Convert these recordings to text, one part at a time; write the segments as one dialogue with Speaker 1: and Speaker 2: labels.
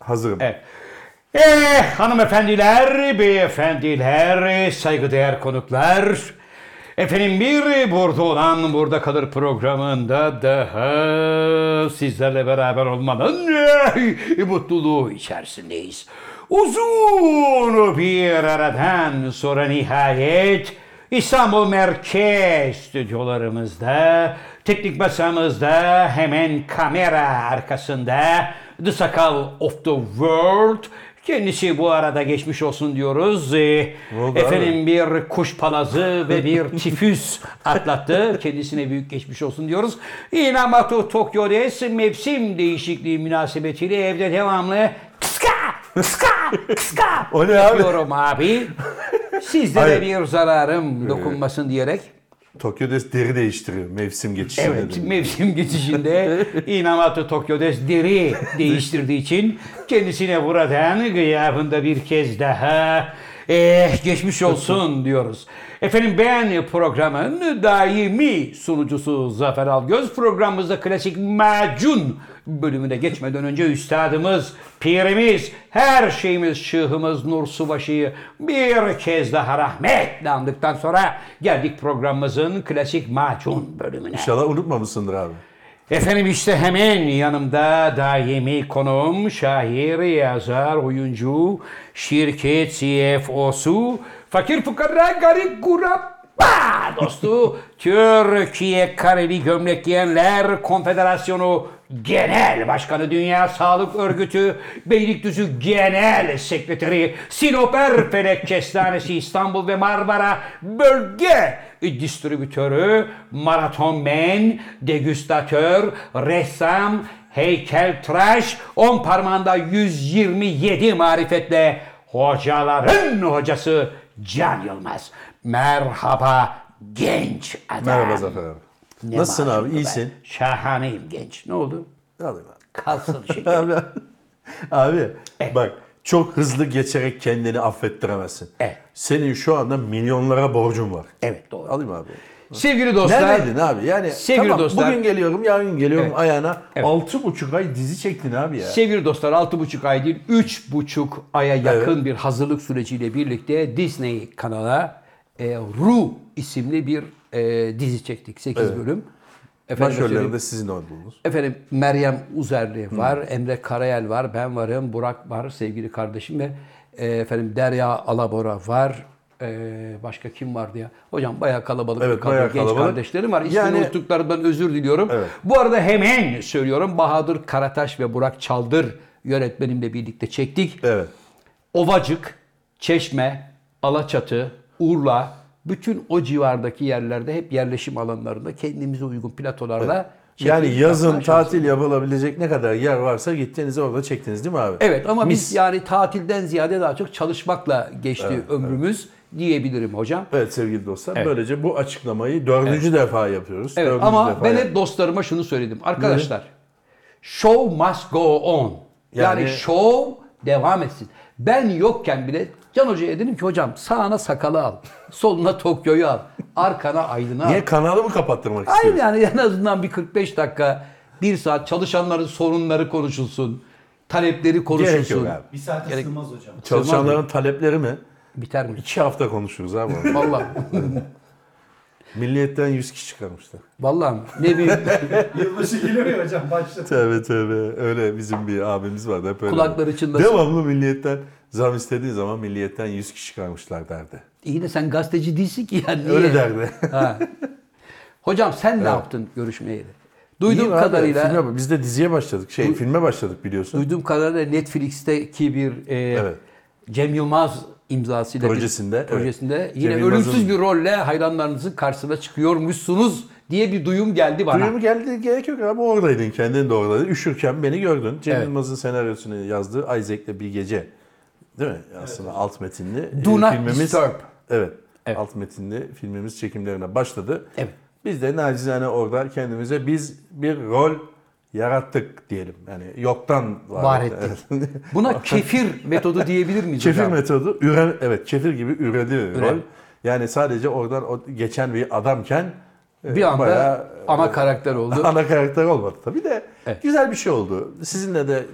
Speaker 1: Hazırım.
Speaker 2: Evet. Ee, hanımefendiler, beyefendiler, saygıdeğer konuklar. Efendim bir burada olan burada kalır programında daha sizlerle beraber olmanın eh, mutluluğu içerisindeyiz. Uzun bir aradan sonra nihayet İstanbul Merkez stüdyolarımızda, teknik masamızda, hemen kamera arkasında The Sakal of the World. Kendisi bu arada geçmiş olsun diyoruz. Ee,
Speaker 1: Oldu
Speaker 2: Efendim bir kuş palazı ve bir tifüs atlattı. Kendisine büyük geçmiş olsun diyoruz. Inamatu Tokyo'des mevsim değişikliği münasebetiyle evde devamlı kıska kıska kıska
Speaker 1: O ne abi?
Speaker 2: yapıyorum abi. Sizlere
Speaker 1: Hayır.
Speaker 2: bir zararım dokunmasın diyerek
Speaker 1: Tokyo'da deri değiştiriyor mevsim geçişinde.
Speaker 2: evet mevsim geçişinde Inamatu Tokyo'des deri değiştirdiği için kendisine buradan gıyabında bir kez daha eh, geçmiş olsun diyoruz. Efendim ben programın daimi sunucusu Zafer Algöz. Programımızda klasik macun bölümüne geçmeden önce üstadımız, pirimiz, her şeyimiz, şığımız Nur Subaşı'yı bir kez daha rahmetle andıktan sonra geldik programımızın klasik macun bölümüne.
Speaker 1: İnşallah unutmamışsındır abi.
Speaker 2: Efendim işte hemen yanımda daimi konuğum, şair, yazar, oyuncu, şirket CFO'su, fakir fukara garip kurabba dostu, Türkiye Kareli Gömlek Giyenler Konfederasyonu Genel Başkanı Dünya Sağlık Örgütü Beylikdüzü Genel Sekreteri Sinop Erfelek Kestanesi İstanbul ve Marmara Bölge Distribütörü Maraton Men Degüstatör Ressam Heykeltıraş On parmağında 127 marifetle Hocaların hocası Can Yılmaz Merhaba genç adam
Speaker 1: Merhaba Zafer abi.
Speaker 2: Ne
Speaker 1: Nasılsın
Speaker 2: malum
Speaker 1: abi?
Speaker 2: ben.
Speaker 1: İyisin.
Speaker 2: Şahaneyim genç. Ne oldu?
Speaker 1: Abi,
Speaker 2: Kalsın şey. şeker.
Speaker 1: abi, abi bak çok hızlı geçerek kendini affettiremezsin.
Speaker 2: Evet.
Speaker 1: Senin şu anda milyonlara borcun var.
Speaker 2: evet doğru.
Speaker 1: Alayım abi.
Speaker 2: Sevgili dostlar.
Speaker 1: Neredeydin abi? Yani
Speaker 2: Sevgili
Speaker 1: tamam,
Speaker 2: dostlar-
Speaker 1: bugün geliyorum, yarın geliyorum
Speaker 2: Evet.
Speaker 1: ayağına.
Speaker 2: Evet. Şey-
Speaker 1: Altı buçuk ay dizi çektin abi ya.
Speaker 2: Sevgili dostlar 6,5 ay değil 3,5 aya yakın bir hazırlık süreciyle birlikte Disney kanala e, Ru isimli bir e, dizi çektik. 8 bölüm. Efendim,
Speaker 1: Başrollerinde sizin olduğunuz.
Speaker 2: Efendim Meryem Uzerli var, Emre Karayel var, ben varım, Burak var sevgili kardeşim ve e, efendim Derya Alabora var. E, başka kim vardı ya? Hocam bayağı kalabalık
Speaker 1: Evet,
Speaker 2: bir kadro,
Speaker 1: bayağı
Speaker 2: genç
Speaker 1: kalabalık.
Speaker 2: kardeşlerim var. İsmini
Speaker 1: Yani-
Speaker 2: unuttuklarından özür diliyorum.
Speaker 1: Evet.
Speaker 2: Bu arada hemen söylüyorum Bahadır Karataş ve Burak Çaldır yönetmenimle birlikte çektik.
Speaker 1: Evet.
Speaker 2: Ovacık, Çeşme, Alaçatı, Urla bütün o civardaki yerlerde hep yerleşim alanlarında kendimize uygun platolarla
Speaker 1: Yani
Speaker 2: çektik.
Speaker 1: yazın
Speaker 2: Yapma şansı.
Speaker 1: tatil yapılabilecek ne kadar yer varsa gittiniz orada çektiniz değil mi abi?
Speaker 2: Evet ama
Speaker 1: Mis.
Speaker 2: biz yani tatilden ziyade daha çok çalışmakla geçti ömrümüz diyebilirim hocam.
Speaker 1: Evet sevgili dostlar
Speaker 2: Evet.
Speaker 1: böylece bu açıklamayı dördüncü defa yapıyoruz.
Speaker 2: Evet
Speaker 1: Dördüncü
Speaker 2: ama
Speaker 1: defa
Speaker 2: ben
Speaker 1: yap-
Speaker 2: hep dostlarıma şunu söyledim. Arkadaşlar show must go on. Yani,
Speaker 1: Yani-
Speaker 2: show devam etsin. Ben yokken bile Can Hoca'ya dedim ki hocam sağına sakalı al. Soluna Tokyo'yu al. Arkana Aydın'ı al.
Speaker 1: Niye kanalı mı kapattırmak
Speaker 2: Hayır
Speaker 1: istiyorsun?
Speaker 2: yani en azından bir 45 dakika, bir saat çalışanların sorunları konuşulsun. Talepleri konuşulsun.
Speaker 1: Gerek yok abi.
Speaker 3: Bir saate sığmaz hocam.
Speaker 1: Çalışanların talepleri mi?
Speaker 2: Biter mi?
Speaker 1: İki hafta konuşuruz abi. onu.
Speaker 2: Vallahi.
Speaker 1: Milliyetten 100 kişi çıkarmışlar.
Speaker 2: Vallahi ne bileyim.
Speaker 3: Yılbaşı geliyor ya hocam başladı.
Speaker 1: Tövbe tövbe. Öyle bizim bir abimiz vardı hep öyle.
Speaker 2: Kulakları çınlasın.
Speaker 1: Devamlı milliyetten zam istediği zaman milliyetten 100 kişi çıkarmışlar derdi.
Speaker 2: İyi de sen gazeteci değilsin ki yani. Niye?
Speaker 1: Öyle derdi.
Speaker 2: Ha. Hocam sen ne yaptın görüşmeyeli?
Speaker 1: İyiyim
Speaker 2: Duyduğum
Speaker 1: abi,
Speaker 2: kadarıyla
Speaker 1: filme- biz de diziye başladık. Şey filme başladık biliyorsun.
Speaker 2: duyduğum kadarıyla Netflix'teki bir e,
Speaker 1: Evet.
Speaker 2: Cem Yılmaz imzasıyla bir-
Speaker 1: Projesinde, evet.
Speaker 2: projesinde yine
Speaker 1: Cem Yılmaz'ın-
Speaker 2: ölümsüz bir rolle hayranlarınızın karşısına çıkıyormuşsunuz diye bir duyum geldi bana.
Speaker 1: Duyumu geldi gerek yok abi oradaydın kendin de oradaydın. Üşürken beni gördün. Cem
Speaker 2: Evet.
Speaker 1: Yılmaz'ın senaryosunu yazdığı Isaac'le Bir Gece. Değil mi? Aslında alt metinli
Speaker 2: Do
Speaker 1: e,
Speaker 2: not disturb.
Speaker 1: Evet,
Speaker 2: Evet.
Speaker 1: Alt metinli filmimiz çekimlerine başladı.
Speaker 2: Evet.
Speaker 1: Biz de nacizane orada kendimize biz bir rol yarattık diyelim. Yani yoktan var,
Speaker 2: Var ettik. Buna kefir metodu diyebilir miyiz
Speaker 1: Kefir
Speaker 2: hocam?
Speaker 1: metodu, üren, evet kefir gibi üredi
Speaker 2: Üren.
Speaker 1: rol. Yani sadece oradan o geçen bir adamken e,
Speaker 2: Bir anda
Speaker 1: bayağı,
Speaker 2: ana
Speaker 1: e,
Speaker 2: karakter oldu.
Speaker 1: Ana karakter olmadı tabii de
Speaker 2: Evet.
Speaker 1: güzel bir şey oldu. Sizinle de e,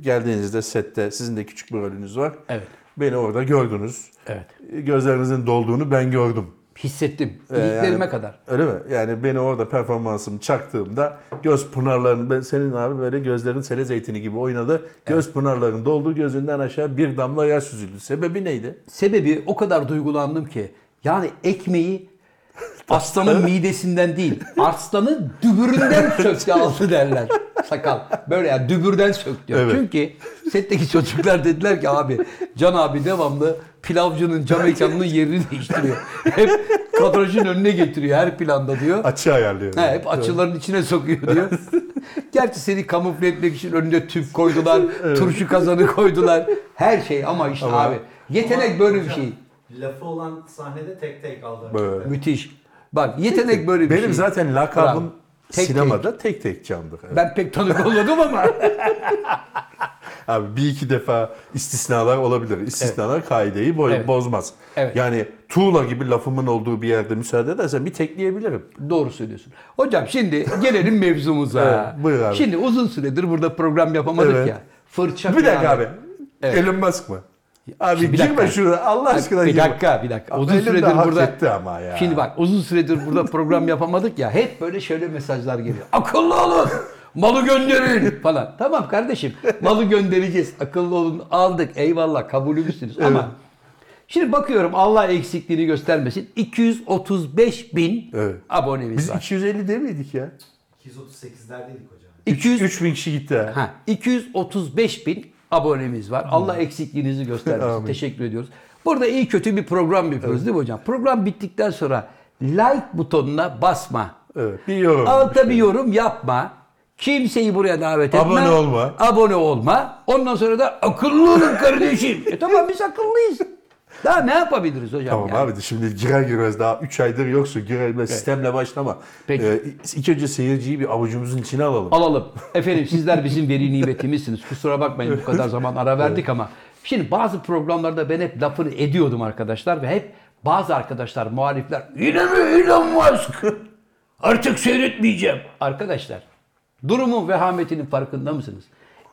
Speaker 1: geldiğinizde sette sizin de küçük bir rolünüz var.
Speaker 2: Evet.
Speaker 1: Beni orada gördünüz. E,
Speaker 2: Evet.
Speaker 1: Gözlerinizin dolduğunu ben gördüm.
Speaker 2: Hissettim.
Speaker 1: Ee, yani-
Speaker 2: İliklerime kadar.
Speaker 1: Öyle mi? Yani beni orada performansım çaktığımda göz pınarların, ben- senin abi böyle gözlerin sele zeytini gibi oynadı. Göz pınarların doldu, gözünden aşağı bir damla yaş süzüldü. Sebebi neydi?
Speaker 2: Sebebi o kadar duygulandım ki. Yani ekmeği aslanın midesinden değil, aslanın dübüründen söktü aldı derler. Sakal. Böyle ya dübürden söktü.
Speaker 1: Evet.
Speaker 2: Çünkü setteki çocuklar dediler ki abi Can abi devamlı pilavcının cam mekanının yerini değiştiriyor. Hep kadrajın önüne getiriyor her planda diyor.
Speaker 1: Açı ayarlıyor.
Speaker 2: Ha, hep açıların içine sokuyor diyor. Gerçi seni kamufle etmek için önüne tüp koydular, turşu kazanı koydular. Her şey ama işte
Speaker 1: Ama-
Speaker 2: abi. Yetenek böyle bir
Speaker 3: Hocam,
Speaker 2: şey.
Speaker 3: Lafı olan sahnede tek tek aldı.
Speaker 1: Böyle.
Speaker 2: Müthiş. Bak yetenek böyle bir
Speaker 1: Benim
Speaker 2: şey.
Speaker 1: zaten lakabım
Speaker 2: Bravo. Tek
Speaker 1: sinemada tek tek candır. Evet.
Speaker 2: Ben pek tanık olmadım ama.
Speaker 1: Abi bir iki defa istisnalar olabilir. İstisnalar kaideyi bo-
Speaker 2: Evet.
Speaker 1: bozmaz.
Speaker 2: Evet.
Speaker 1: Yani tuğla gibi lafımın olduğu bir yerde müsaade edersen bir tekleyebilirim.
Speaker 2: Doğru söylüyorsun. Hocam şimdi gelelim mevzumuza.
Speaker 1: Evet, buyur abi.
Speaker 2: Şimdi uzun süredir burada program yapamadık
Speaker 1: Evet.
Speaker 2: ya. Fırça
Speaker 1: Bir dakika
Speaker 2: kıyamet.
Speaker 1: abi. Elon Musk mı? Abi
Speaker 2: Şimdi bir
Speaker 1: girme
Speaker 2: dakika.
Speaker 1: şuraya Allah aşkına
Speaker 2: bir
Speaker 1: girme.
Speaker 2: dakika, bir dakika.
Speaker 1: Abi
Speaker 2: Uzun
Speaker 1: Elon da
Speaker 2: süredir
Speaker 1: hak
Speaker 2: burada
Speaker 1: etti ama ya.
Speaker 2: Şimdi bak uzun süredir burada program yapamadık ya. Hep böyle şöyle mesajlar geliyor. Akıllı olun. Malı gönderin falan. Tamam kardeşim. Malı göndereceğiz. Akıllı olun. Aldık. Eyvallah. Kabulümüzsünüz. Ama şimdi bakıyorum Allah eksikliğini göstermesin. 235 bin
Speaker 1: Evet.
Speaker 2: abonemiz
Speaker 1: Biz
Speaker 2: var.
Speaker 1: 250 değil miydik ya?
Speaker 3: 238'lerdeydik hocam.
Speaker 2: 200
Speaker 1: 3000 kişi gitti. ha.
Speaker 2: Ha, 235 bin abonemiz var. Allah eksikliğinizi göstermesin.
Speaker 1: Amin.
Speaker 2: Teşekkür ediyoruz. Burada iyi kötü bir program yapıyoruz değil mi hocam? Program bittikten sonra like butonuna basma.
Speaker 1: Evet. Bir yorum.
Speaker 2: Altta bir yorum yapma. Kimseyi buraya davet etme.
Speaker 1: Abone olma.
Speaker 2: Abone olma. Ondan sonra da akıllı olun kardeşim. e tamam biz akıllıyız. Daha ne yapabiliriz hocam?
Speaker 1: Tamam
Speaker 2: yani?
Speaker 1: abi de şimdi girer girmez daha 3 aydır yoksun girer girmez sistemle başlama.
Speaker 2: Peki.
Speaker 1: Ee, ilk önce seyirciyi bir avucumuzun içine alalım.
Speaker 2: Alalım. Efendim sizler bizim veri nimetimizsiniz. Kusura bakmayın bu kadar zaman ara verdik ama. Şimdi bazı programlarda ben hep lafını ediyordum arkadaşlar ve hep bazı arkadaşlar, muhalifler yine mi Elon Musk? Artık seyretmeyeceğim. Arkadaşlar durumun vehametinin farkında mısınız?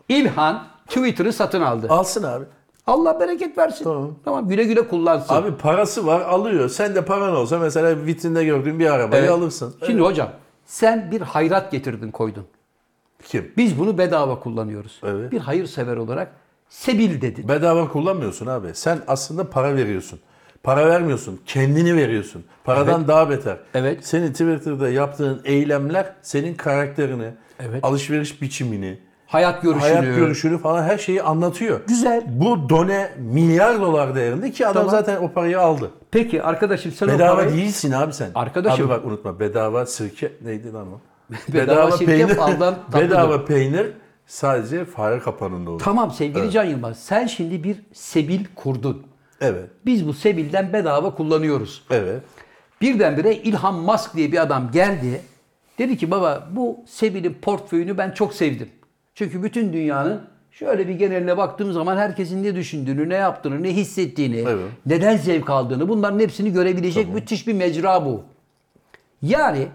Speaker 2: İlhan Twitter'ı satın aldı.
Speaker 1: Alsın abi.
Speaker 2: Allah bereket versin. Tamam. güle güle kullansın.
Speaker 1: Abi parası var alıyor. Sen de paran olsa mesela vitrinde gördüğün bir arabayı
Speaker 2: Evet.
Speaker 1: alırsın.
Speaker 2: Şimdi hocam sen bir hayrat getirdin koydun.
Speaker 1: Kim?
Speaker 2: Biz bunu bedava kullanıyoruz.
Speaker 1: Evet.
Speaker 2: Bir hayırsever olarak sebil dedin.
Speaker 1: Bedava kullanmıyorsun abi. Sen aslında para veriyorsun. Para vermiyorsun. Kendini veriyorsun. Paradan daha beter.
Speaker 2: Evet.
Speaker 1: Senin Twitter'da yaptığın eylemler senin karakterini,
Speaker 2: Evet.
Speaker 1: alışveriş biçimini,
Speaker 2: Hayat görüşünü.
Speaker 1: hayat görüşünü falan her şeyi anlatıyor.
Speaker 2: Güzel.
Speaker 1: Bu done milyar dolar değerinde ki adam
Speaker 2: Tamam.
Speaker 1: zaten o parayı aldı.
Speaker 2: Peki arkadaşım sen o
Speaker 1: Bedava
Speaker 2: parayı...
Speaker 1: değilsin abi sen.
Speaker 2: Arkadaşım-
Speaker 1: Abi bak unutma bedava sirke neydi lan o?
Speaker 2: Bedava sirke baldan tatlıdır.
Speaker 1: bedava peynir sadece fare kapanında olur.
Speaker 2: Tamam sevgili Can Yılmaz sen şimdi bir sebil kurdun.
Speaker 1: Evet.
Speaker 2: Biz bu sebilden bedava kullanıyoruz.
Speaker 1: Evet.
Speaker 2: Birdenbire Ilhan Musk diye bir adam geldi. Dedi ki baba bu Sebil'in portföyünü ben çok sevdim. Çünkü bütün dünyanın şöyle bir geneline baktığım zaman herkesin ne düşündüğünü, ne yaptığını, ne hissettiğini,
Speaker 1: Evet.
Speaker 2: neden zevk aldığını bunların hepsini görebilecek müthiş bir mecra bu. Yani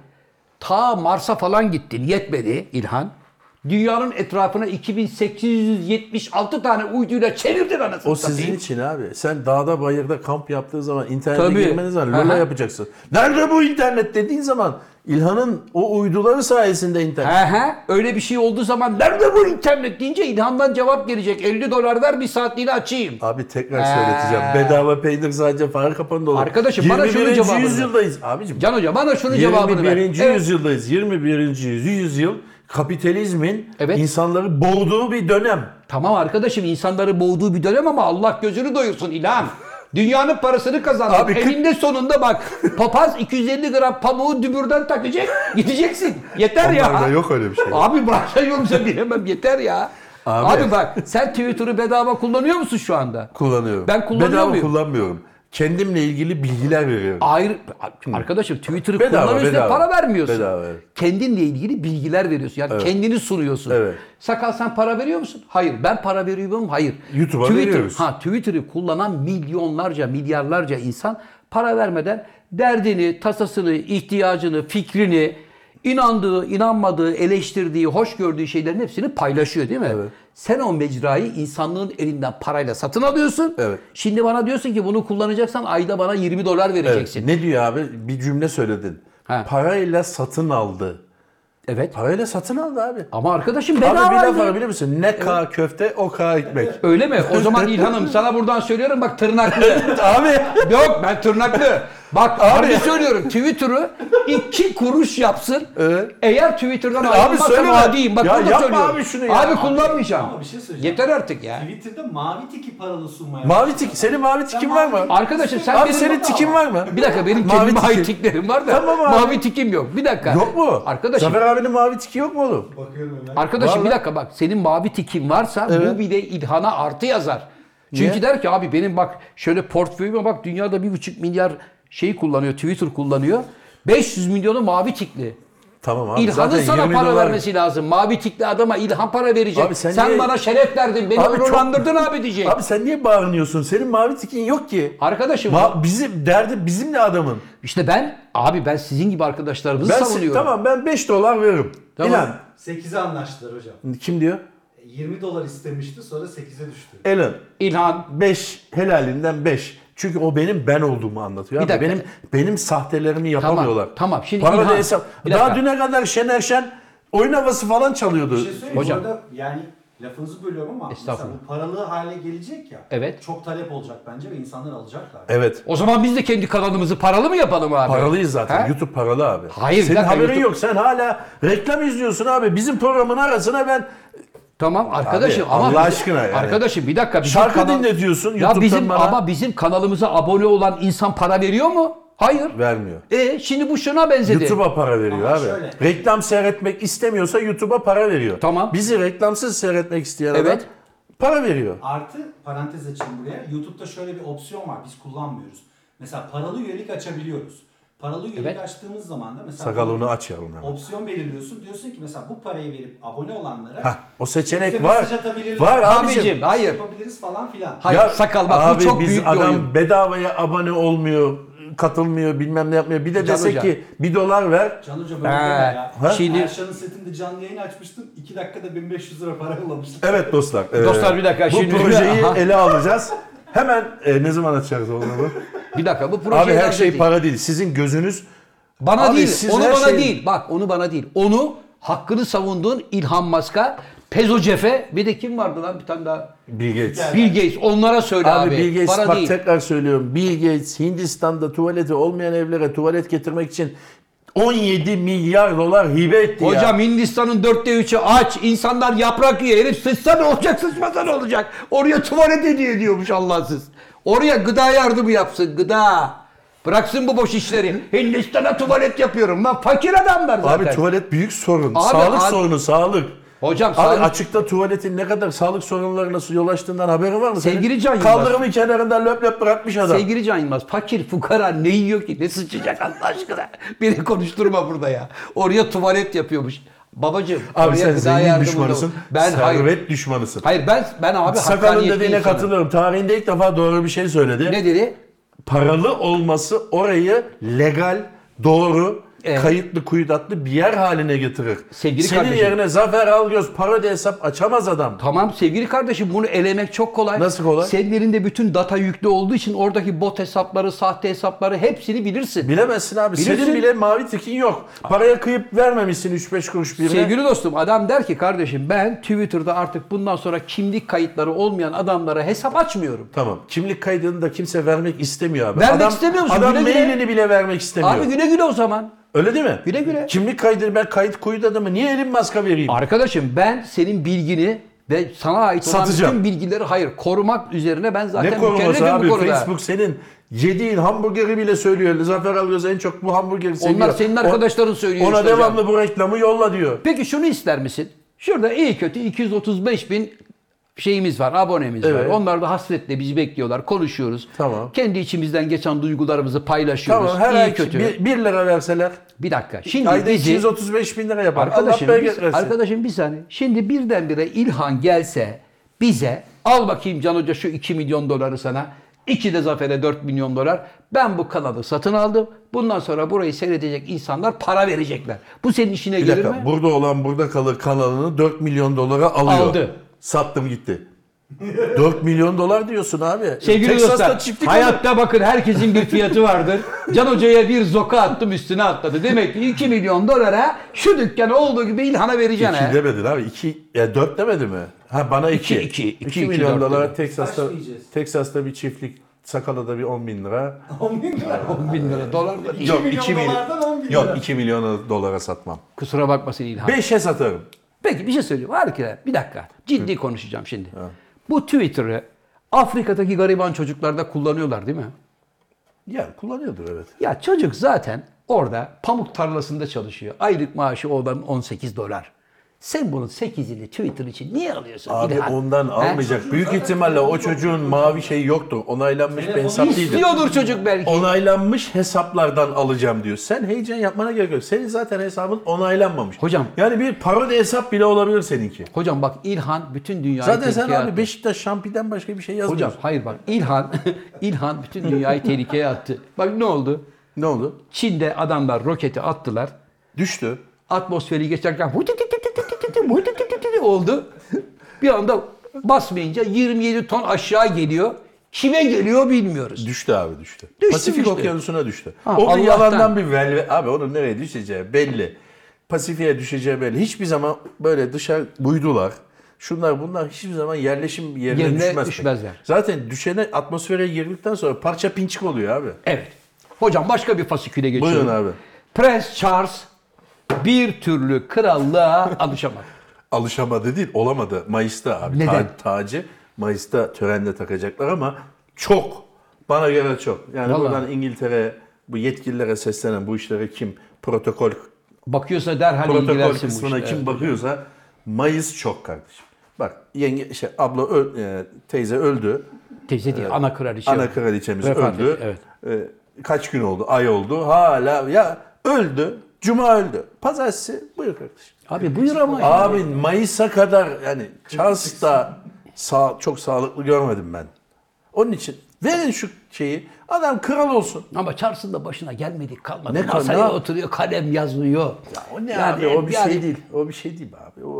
Speaker 2: ta Mars'a falan gittin yetmedi İlhan. Dünyanın etrafına 2876 tane uyduyla çevirdin anasını
Speaker 1: O sizin
Speaker 2: satayım.
Speaker 1: için abi. Sen dağda bayırda kamp yaptığı zaman internete
Speaker 2: Tabii.
Speaker 1: girmeniz var.
Speaker 2: Aha.
Speaker 1: Lola yapacaksın. Nerede bu internet dediğin zaman İlhan'ın o uyduları sayesinde internet.
Speaker 2: He he öyle bir şey olduğu zaman nerede bu internet deyince İlhan'dan cevap gelecek. 50 dolar ver bir saatliğine açayım.
Speaker 1: Abi tekrar
Speaker 2: Ha.
Speaker 1: söyleteceğim. Bedava peynir sadece fare kapanında olur.
Speaker 2: Arkadaşım, bana şunun
Speaker 1: 21.
Speaker 2: cevabını ver.
Speaker 1: yüzyıldayız abicim.
Speaker 2: Can Hoca bana şunun cevabını ver.
Speaker 1: 21.
Speaker 2: Evet.
Speaker 1: yüzyıldayız. 21. yüzyıl kapitalizmin
Speaker 2: Evet.
Speaker 1: insanları boğduğu bir dönem.
Speaker 2: Tamam arkadaşım insanları boğduğu bir dönem ama Allah gözünü doyursun İlhan. Dünyanın parasını kazandın.
Speaker 1: Abi kırk-
Speaker 2: Elinde sonunda bak papaz 250 gram pamuğu dübürden takacak gideceksin. Yeter ya.
Speaker 1: Onlarda yok öyle bir şey.
Speaker 2: Abi başka yoksa bilemem yeter ya.
Speaker 1: Abi.
Speaker 2: Abi bak sen Twitter'ı bedava kullanıyor musun şu anda?
Speaker 1: Kullanıyorum.
Speaker 2: Ben kullanıyor
Speaker 1: Bedava
Speaker 2: muyum?
Speaker 1: kullanmıyorum. Kendimle ilgili bilgiler veriyorum.
Speaker 2: Ayrı arkadaşım Twitter'ı
Speaker 1: Bedava,
Speaker 2: kullanıyorsun
Speaker 1: bedava.
Speaker 2: para vermiyorsun.
Speaker 1: Bedava, evet.
Speaker 2: Kendinle ilgili bilgiler veriyorsun. Yani kendini sunuyorsun.
Speaker 1: Evet.
Speaker 2: Sakal sen para veriyor musun? Hayır. Ben para veriyor muyum? Hayır.
Speaker 1: YouTube'a
Speaker 2: Twitter,
Speaker 1: veriyoruz.
Speaker 2: Ha Twitter'ı kullanan milyonlarca, milyarlarca insan para vermeden derdini, tasasını, ihtiyacını, fikrini inandığı, inanmadığı, eleştirdiği, hoş gördüğü şeylerin hepsini paylaşıyor değil mi?
Speaker 1: Evet.
Speaker 2: Sen o mecrayı insanlığın elinden parayla satın alıyorsun.
Speaker 1: Evet.
Speaker 2: Şimdi bana diyorsun ki bunu kullanacaksan ayda bana 20 dolar
Speaker 1: Evet.
Speaker 2: vereceksin.
Speaker 1: Ne diyor abi? Bir cümle söyledin.
Speaker 2: Ha.
Speaker 1: Parayla satın aldı.
Speaker 2: Evet.
Speaker 1: Parayla satın aldı abi.
Speaker 2: Ama arkadaşım
Speaker 1: Abi bir laf
Speaker 2: bedava.
Speaker 1: var biliyor musun? Ne ka köfte o ka ekmek.
Speaker 2: Öyle mi? O zaman İlhan'ım sana buradan söylüyorum bak tırnaklı.
Speaker 1: abi.
Speaker 2: Yok ben tırnaklı. Bak harbi söylüyorum Twitter'ı iki kuruş yapsın.
Speaker 1: Evet.
Speaker 2: Eğer Twitter'dan
Speaker 1: söyle
Speaker 2: ayrılmazsam
Speaker 1: lan.
Speaker 2: adiyim. Bak
Speaker 1: Ya
Speaker 2: burada
Speaker 1: yapma
Speaker 2: söylüyorum.
Speaker 1: abi şunu ya.
Speaker 2: Abi kullanmayacağım.
Speaker 3: Ama bir şey söyleyeceğim.
Speaker 2: Yeter artık ya.
Speaker 3: Twitter'da mavi tiki paralı sunmaya
Speaker 1: Mavi tik. Senin mavi tikin var mı?
Speaker 2: Arkadaşım sen
Speaker 1: Abi
Speaker 2: benim-
Speaker 1: senin tikin var mı?
Speaker 2: Bir dakika benim
Speaker 1: Mavi
Speaker 2: kendime ait
Speaker 1: tiki.
Speaker 2: tiklerim var da
Speaker 1: Tamam abi.
Speaker 2: mavi tikim yok. Bir dakika.
Speaker 1: Yok mu?
Speaker 2: Arkadaşım.
Speaker 1: Zafer abinin mavi tiki yok mu oğlum?
Speaker 3: Bakıyorum hemen.
Speaker 2: Arkadaşım
Speaker 1: Vallahi-
Speaker 2: bir dakika bak senin mavi tikin varsa bu bir de İlhan'a artı yazar. Çünkü
Speaker 1: Niye?
Speaker 2: der ki abi benim bak şöyle portföyüme bak dünyada bir buçuk milyar şey kullanıyor Twitter kullanıyor. 500 milyonu mavi tikli.
Speaker 1: Tamam abi.
Speaker 2: İlhan'ın
Speaker 1: zaten
Speaker 2: sana
Speaker 1: 20
Speaker 2: para
Speaker 1: dolar-
Speaker 2: vermesi lazım. Mavi tikli adama İlhan para verecek.
Speaker 1: Abi
Speaker 2: sen
Speaker 1: sen niye-
Speaker 2: bana şeref verdin. Beni
Speaker 1: Abi çok-
Speaker 2: onurlandırdın abi diyecek.
Speaker 1: Abi sen niye bağırıyorsun? Senin mavi tikin yok ki.
Speaker 2: Arkadaşım
Speaker 1: Ma- bizim derdi bizimle adamın.
Speaker 2: işte ben abi ben sizin gibi arkadaşlarımızı
Speaker 1: Ben se-
Speaker 2: savunuyorum.
Speaker 1: tamam ben 5 dolar veririm.
Speaker 2: Tamam.
Speaker 1: Elon.
Speaker 3: 8'e anlaştılar hocam.
Speaker 1: Kim diyor?
Speaker 3: 20 dolar istemişti sonra 8'e düştü.
Speaker 1: Elon.
Speaker 2: İlhan
Speaker 1: 5 helalinden 5. Çünkü o benim ben olduğumu anlatıyor.
Speaker 2: Bir
Speaker 1: Abi
Speaker 2: dakika.
Speaker 1: benim benim sahtelerimi yapamıyorlar.
Speaker 2: tamam. Şimdi
Speaker 1: Paralel
Speaker 2: İlhan,
Speaker 1: hesap-
Speaker 2: bir
Speaker 1: Daha
Speaker 2: dakika.
Speaker 1: düne kadar Şener Şen oyun havası falan çalıyordu.
Speaker 3: Bir şey söyleyeyim
Speaker 2: Hocam.
Speaker 3: Hocam. Orada yani lafınızı bölüyorum ama mesela
Speaker 2: Estağfurullah.
Speaker 3: bu paralı hale gelecek ya.
Speaker 2: Evet.
Speaker 3: Çok talep olacak bence ve insanlar alacaklar.
Speaker 1: evet.
Speaker 2: o zaman biz de kendi kanalımızı paralı mı yapalım abi?
Speaker 1: Paralıyız zaten.
Speaker 2: He?
Speaker 1: YouTube paralı abi.
Speaker 2: Hayır, bir
Speaker 1: Senin
Speaker 2: dakika,
Speaker 1: haberin
Speaker 2: YouTube-
Speaker 1: yok. Sen hala reklam izliyorsun abi. Bizim programın arasına ben
Speaker 2: Tamam arkadaşım ama
Speaker 1: Allah aşkına yani.
Speaker 2: Arkadaşım bir dakika bizim
Speaker 1: Şarkı dinletiyorsun
Speaker 2: ya
Speaker 1: YouTube'dan
Speaker 2: bizim
Speaker 1: bana.
Speaker 2: ama bizim kanalımıza abone olan insan para veriyor mu? Hayır.
Speaker 1: vermiyor.
Speaker 2: E şimdi bu şuna benzedi.
Speaker 1: YouTube'a para veriyor
Speaker 3: Ama
Speaker 1: abi.
Speaker 3: şöyle.
Speaker 1: Reklam seyretmek istemiyorsa YouTube'a para veriyor.
Speaker 2: Tamam.
Speaker 1: Bizi reklamsız seyretmek isteyen
Speaker 2: Evet.
Speaker 1: adam para veriyor.
Speaker 3: Artı parantez açayım buraya. YouTube'da şöyle bir opsiyon var. Biz kullanmıyoruz. Mesela paralı üyelik açabiliyoruz. Paralı üyelik
Speaker 2: Evet.
Speaker 3: açtığımız zaman da mesela
Speaker 1: Sakalını açalım hemen.
Speaker 3: opsiyon belirliyorsun. Diyorsun ki mesela bu parayı verip abone olanlara
Speaker 1: Hah, o seçenek
Speaker 3: bize
Speaker 1: var.
Speaker 3: mesaj atabilirler.
Speaker 1: Var abicim.
Speaker 2: Abicim, hayır.
Speaker 3: yapabiliriz falan filan.
Speaker 2: Hayır sakal bak
Speaker 1: abi
Speaker 2: bu çok
Speaker 1: biz
Speaker 2: büyük bir
Speaker 1: adam
Speaker 2: oyun.
Speaker 1: bedavaya abone olmuyor, katılmıyor, bilmem ne yapmıyor. Bir de
Speaker 2: Can
Speaker 1: dese
Speaker 2: Hoca.
Speaker 1: ki bir dolar ver.
Speaker 3: Can Hoca böyle
Speaker 2: Ha,
Speaker 3: deme ya.
Speaker 2: ha? Şimdi-
Speaker 3: Şimdi... Erşan'ın setinde canlı yayın açmıştım. 2 dakikada 1500 lira para yollamıştım.
Speaker 1: Evet dostlar. e,
Speaker 2: Dostlar, bir dakika,
Speaker 1: Bu
Speaker 2: şimdi-
Speaker 1: projeyi
Speaker 2: Aha.
Speaker 1: ele alacağız. Hemen e, ne zaman açacağız oğlum?
Speaker 2: Bir dakika bu proje
Speaker 1: abi her
Speaker 2: lazım
Speaker 1: şey
Speaker 2: değil.
Speaker 1: para değil. Sizin gözünüz
Speaker 2: Bana
Speaker 1: Abi
Speaker 2: değil,
Speaker 1: siz
Speaker 2: onu
Speaker 1: her
Speaker 2: bana
Speaker 1: şey-
Speaker 2: değil. Bak onu bana değil. Onu hakkını savunduğun İlhan Mask'a, Pezo Cefe, bir de kim vardı lan bir tane daha?
Speaker 1: Bill Gates.
Speaker 2: Bill Gates. Onlara söyle abi.
Speaker 1: Abi, Bill Gates
Speaker 2: Bana
Speaker 1: bak
Speaker 2: değil.
Speaker 1: tekrar söylüyorum. Bill Gates Hindistan'da tuvaleti olmayan evlere tuvalet getirmek için 17 milyar dolar hibe etti ya.
Speaker 2: Hocam Hindistan'ın dörtte üçü aç. insanlar yaprak yiyor. Herif sıçsa ne olacak sıçmasa ne olacak. Oraya tuvalet hediye ediyormuş Allahsız. Oraya gıda yardımı yapsın gıda. Bıraksın bu boş işleri. Hindistan'a tuvalet yapıyorum. Lan fakir adamlar zaten.
Speaker 1: Abi tuvalet büyük sorun.
Speaker 2: Abi,
Speaker 1: sağlık
Speaker 2: abi-
Speaker 1: sorunu, sağlık.
Speaker 2: Hocam
Speaker 1: Abi
Speaker 2: sağlık-
Speaker 1: açıkta tuvaletin ne kadar sağlık sorunlarına yol açtığından haberin var mı? senin?
Speaker 2: Sevgili Can Yılmaz.
Speaker 1: Kaldırımın kenarında löp löp bırakmış adam.
Speaker 2: Sevgili Can Yılmaz fakir fukara ne yiyor ki ne sıçacak Allah aşkına. Beni konuşturma burada ya. Oraya tuvalet yapıyormuş. Babacığım
Speaker 1: Abi
Speaker 2: oraya
Speaker 1: sen
Speaker 2: gıda
Speaker 1: zengin
Speaker 2: yardımı da-
Speaker 1: düşmanısın.
Speaker 2: Ben hayır.
Speaker 1: servet düşmanısın.
Speaker 2: Hayır ben ben abi
Speaker 1: Sakalın
Speaker 2: hakkaniyetli
Speaker 1: dediğine
Speaker 2: insanım.
Speaker 1: katılıyorum. Tarihinde ilk defa doğru bir şey söyledi.
Speaker 2: Ne dedi?
Speaker 1: paralı olması orayı legal, doğru,
Speaker 2: Evet.
Speaker 1: kayıtlı, kuyudatlı bir yer haline getirir.
Speaker 2: Sevgili
Speaker 1: Senin
Speaker 2: kardeşim.
Speaker 1: yerine Zafer Algöz parodi hesap açamaz adam.
Speaker 2: Tamam sevgili kardeşim bunu elemek çok kolay.
Speaker 1: Nasıl kolay?
Speaker 2: Senin elinde bütün data yüklü olduğu için oradaki bot hesapları, sahte hesapları hepsini bilirsin.
Speaker 1: Bilemezsin abi.
Speaker 2: Bilirsin.
Speaker 1: Senin bile mavi tikin yok. Paraya kıyıp vermemişsin 3-5 kuruş birine.
Speaker 2: Sevgili dostum adam der ki kardeşim ben Twitter'da artık bundan sonra kimlik kayıtları olmayan adamlara hesap açmıyorum.
Speaker 1: Tamam. Kimlik kaydını da kimse vermek istemiyor abi.
Speaker 2: Vermek
Speaker 1: adam,
Speaker 2: istemiyor musun?
Speaker 1: Adam
Speaker 2: Güle güle.
Speaker 1: mailini bile vermek istemiyor.
Speaker 2: Abi güle güle o zaman.
Speaker 1: Öyle değil mi?
Speaker 2: Güle güle.
Speaker 1: Kimlik kaydını ben kayıt kuyudadı mı? Niye elim maska vereyim?
Speaker 2: Arkadaşım ben senin bilgini ve sana ait olan
Speaker 1: Satacağım.
Speaker 2: bütün bilgileri hayır korumak üzerine ben zaten
Speaker 1: ne koruması
Speaker 2: mükellefim
Speaker 1: abi?
Speaker 2: bu konuda.
Speaker 1: Facebook senin yediğin hamburgeri bile söylüyor. Zafer Algöz en çok bu hamburgeri seviyor.
Speaker 2: Onlar senin
Speaker 1: O-
Speaker 2: arkadaşların söylüyor
Speaker 1: Ona
Speaker 2: işte hocam.
Speaker 1: devamlı bu reklamı yolla diyor.
Speaker 2: Peki şunu ister misin? Şurada iyi kötü 235 bin şeyimiz var, abonemiz
Speaker 1: Evet.
Speaker 2: var. Onlar da hasretle bizi bekliyorlar, konuşuyoruz.
Speaker 1: Tamam.
Speaker 2: Kendi içimizden geçen duygularımızı paylaşıyoruz.
Speaker 1: Tamam her
Speaker 2: iyi
Speaker 1: ay
Speaker 2: kötü. Bir,
Speaker 1: 1 lira verseler
Speaker 2: dakika. Şimdi
Speaker 1: ayda
Speaker 2: bizi
Speaker 1: 235 bin lira yapar.
Speaker 2: arkadaşım,
Speaker 1: Allah
Speaker 2: biz-
Speaker 1: bereket versin.
Speaker 2: arkadaşım bir saniye. Şimdi birdenbire İlhan gelse bize al bakayım Can Hoca şu 2 milyon doları sana. İki de Zafer'e 4 milyon dolar. Ben bu kanalı satın aldım. Bundan sonra burayı seyredecek insanlar para verecekler. Bu senin işine
Speaker 1: Bir
Speaker 2: gelir mi?
Speaker 1: dakika burada olan burada kalır kanalını 4 milyon dolara alıyor.
Speaker 2: Aldı.
Speaker 1: Sattım gitti. 4 milyon dolar diyorsun abi.
Speaker 2: Sevgili
Speaker 1: Texas'ta
Speaker 2: dostlar,
Speaker 1: çiftlik olur.
Speaker 2: hayatta bakın herkesin bir fiyatı vardır. Can Hoca'ya bir zoka attım üstüne atladı. Demek ki 2 milyon dolara şu dükkanı olduğu gibi İlhan'a vereceksin. ha.
Speaker 1: İki demedin abi. İki, ya dört demedi mi? Ha bana iki.
Speaker 2: İki, iki. İki, iki,
Speaker 1: milyon
Speaker 2: dört
Speaker 1: dolara
Speaker 2: dedi.
Speaker 1: Texas'ta,
Speaker 3: Kaç diyeceğiz?
Speaker 1: Texas'ta bir çiftlik. Sakalı'da bir 10 bin lira.
Speaker 3: 10 bin lira.
Speaker 2: 10 bin lira dolar da değil.
Speaker 1: Yok,
Speaker 3: milyon
Speaker 1: iki mil-
Speaker 3: dolardan 10 bin lira.
Speaker 1: Yok 2 milyon dolara satmam.
Speaker 2: Kusura bakmasın İlhan.
Speaker 1: 5'e satarım.
Speaker 2: Peki bir şey söyleyeyim. Harika. Bir dakika. Ciddi konuşacağım şimdi. Bu Twitter'ı Afrika'daki gariban çocuklarda kullanıyorlar değil mi?
Speaker 1: Ya kullanıyordur evet.
Speaker 2: Ya çocuk zaten orada pamuk tarlasında çalışıyor. Aylık maaşı olan 18 dolar. Sen bunun 8'ini Twitter için niye alıyorsun?
Speaker 1: Abi
Speaker 2: İlhan?
Speaker 1: ondan
Speaker 2: He?
Speaker 1: almayacak. Büyük ihtimalle o çocuğun mavi şeyi yoktu. Onaylanmış bir
Speaker 3: Telefonu
Speaker 1: hesap değildi.
Speaker 2: İstiyordur çocuk belki.
Speaker 1: Onaylanmış hesaplardan alacağım diyor. Sen heyecan yapmana gerek yok. Senin zaten hesabın onaylanmamış.
Speaker 2: Hocam.
Speaker 1: Yani bir parodi hesap bile olabilir seninki.
Speaker 2: Hocam bak İlhan bütün dünyayı
Speaker 1: Zaten sen
Speaker 2: tehlikeye
Speaker 1: abi
Speaker 2: attı.
Speaker 1: Beşiktaş şampiden başka bir şey yazmıyorsun.
Speaker 2: Hocam hayır bak İlhan İlhan bütün dünyayı tehlikeye attı. Bak ne oldu?
Speaker 1: Ne oldu?
Speaker 2: Çin'de adamlar roketi attılar.
Speaker 1: Düştü.
Speaker 2: atmosferi geçerken hu tü tü tü tü tü tü tü, hu tü tü tü tü tü oldu. Bir anda basmayınca 27 ton aşağı geliyor. Kime geliyor bilmiyoruz.
Speaker 1: Düştü abi düştü.
Speaker 2: Düştü,
Speaker 1: Pasifik
Speaker 2: düştü.
Speaker 1: Okyanusu'na düştü.
Speaker 2: Ha,
Speaker 1: o da
Speaker 2: Allah'tan.
Speaker 1: yalandan bir velve. Abi onun nereye düşeceği belli. Pasifik'e düşeceği belli. Hiçbir zaman böyle dışarı buydular. Şunlar bunlar hiçbir zaman yerleşim yerine,
Speaker 2: Yerine
Speaker 1: düşmez.
Speaker 2: düşmezler.
Speaker 1: Zaten düşene atmosfere girdikten sonra parça pinçik oluyor abi.
Speaker 2: Evet. Hocam başka bir fasiküle geçiyorum.
Speaker 1: Buyurun abi.
Speaker 2: Prens Charles bir türlü krallığa alışamadı.
Speaker 1: Alışamadı değil olamadı. Mayıs'ta abi.
Speaker 2: Neden?
Speaker 1: Ta- tacı Mayıs'ta törenle takacaklar ama çok. Bana göre çok. Yani
Speaker 2: Vallahi.
Speaker 1: buradan İngiltere bu yetkililere seslenen bu işlere kim protokol
Speaker 2: Bakıyorsa derhal
Speaker 1: protokol
Speaker 2: ilgilensin bu
Speaker 1: kısmına
Speaker 2: işle.
Speaker 1: kim bakıyorsa Mayıs çok kardeşim. Bak yenge şey abla öl- e, teyze öldü.
Speaker 2: Teyze değil, ana kraliçe.
Speaker 1: Ana kraliçemiz
Speaker 2: Vefat
Speaker 1: öldü.
Speaker 2: etti, evet.
Speaker 1: E, kaç gün oldu? Ay oldu. Hala ya öldü. Cuma öldü. Pazartesi buyur kardeşim.
Speaker 2: Abi buyur ama.
Speaker 1: Abi Mayıs'a kadar yani Charles'ta sağ, çok sağlıklı görmedim ben. Onun için verin şu şeyi. Adam kral olsun.
Speaker 2: Ama Charles'ın da başına gelmedi kalmadı.
Speaker 1: Ne kal-
Speaker 2: Masaya
Speaker 1: ne-
Speaker 2: oturuyor, kalem yazıyor.
Speaker 1: Ya o ne
Speaker 2: Yani-
Speaker 1: abi? O bir
Speaker 2: yani-
Speaker 1: şey değil. O bir şey değil abi. O,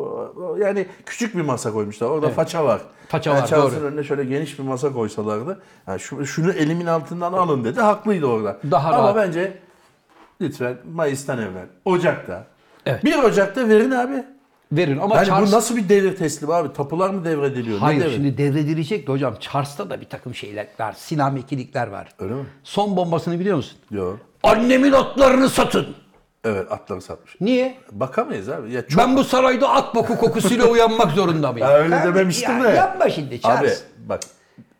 Speaker 1: o- yani küçük bir masa koymuşlar. Orada faça var.
Speaker 2: Faça
Speaker 1: yani
Speaker 2: var,
Speaker 1: Charles'ın
Speaker 2: doğru.
Speaker 1: önüne şöyle geniş bir masa koysalardı. Yani şu, şunu elimin altından alın dedi. Haklıydı orada.
Speaker 2: Daha
Speaker 1: Ama
Speaker 2: rahat.
Speaker 1: bence lütfen Mayıs'tan evvel. Ocak'ta.
Speaker 2: Evet.
Speaker 1: 1 Ocak'ta verin abi.
Speaker 2: Verin ama
Speaker 1: Yani
Speaker 2: Charles...
Speaker 1: bu nasıl bir devir teslimi abi? Tapular mı devrediliyor? Ne
Speaker 2: Hayır
Speaker 1: devir-
Speaker 2: şimdi devredilecek de hocam Charles'ta da bir takım şeyler var. Sinamikilikler var.
Speaker 1: Öyle mi?
Speaker 2: Son bombasını biliyor musun?
Speaker 1: Yok.
Speaker 2: Annemin atlarını satın.
Speaker 1: Evet atları satmış.
Speaker 2: Niye?
Speaker 1: Bakamayız abi. Ya çok...
Speaker 2: Ben bu sarayda at boku kokusuyla uyanmak zorunda mıyım?
Speaker 1: Ya öyle
Speaker 2: Kardeşim
Speaker 1: dememiştim
Speaker 2: ya,
Speaker 1: de.
Speaker 2: Yapma şimdi Charles.
Speaker 1: Abi bak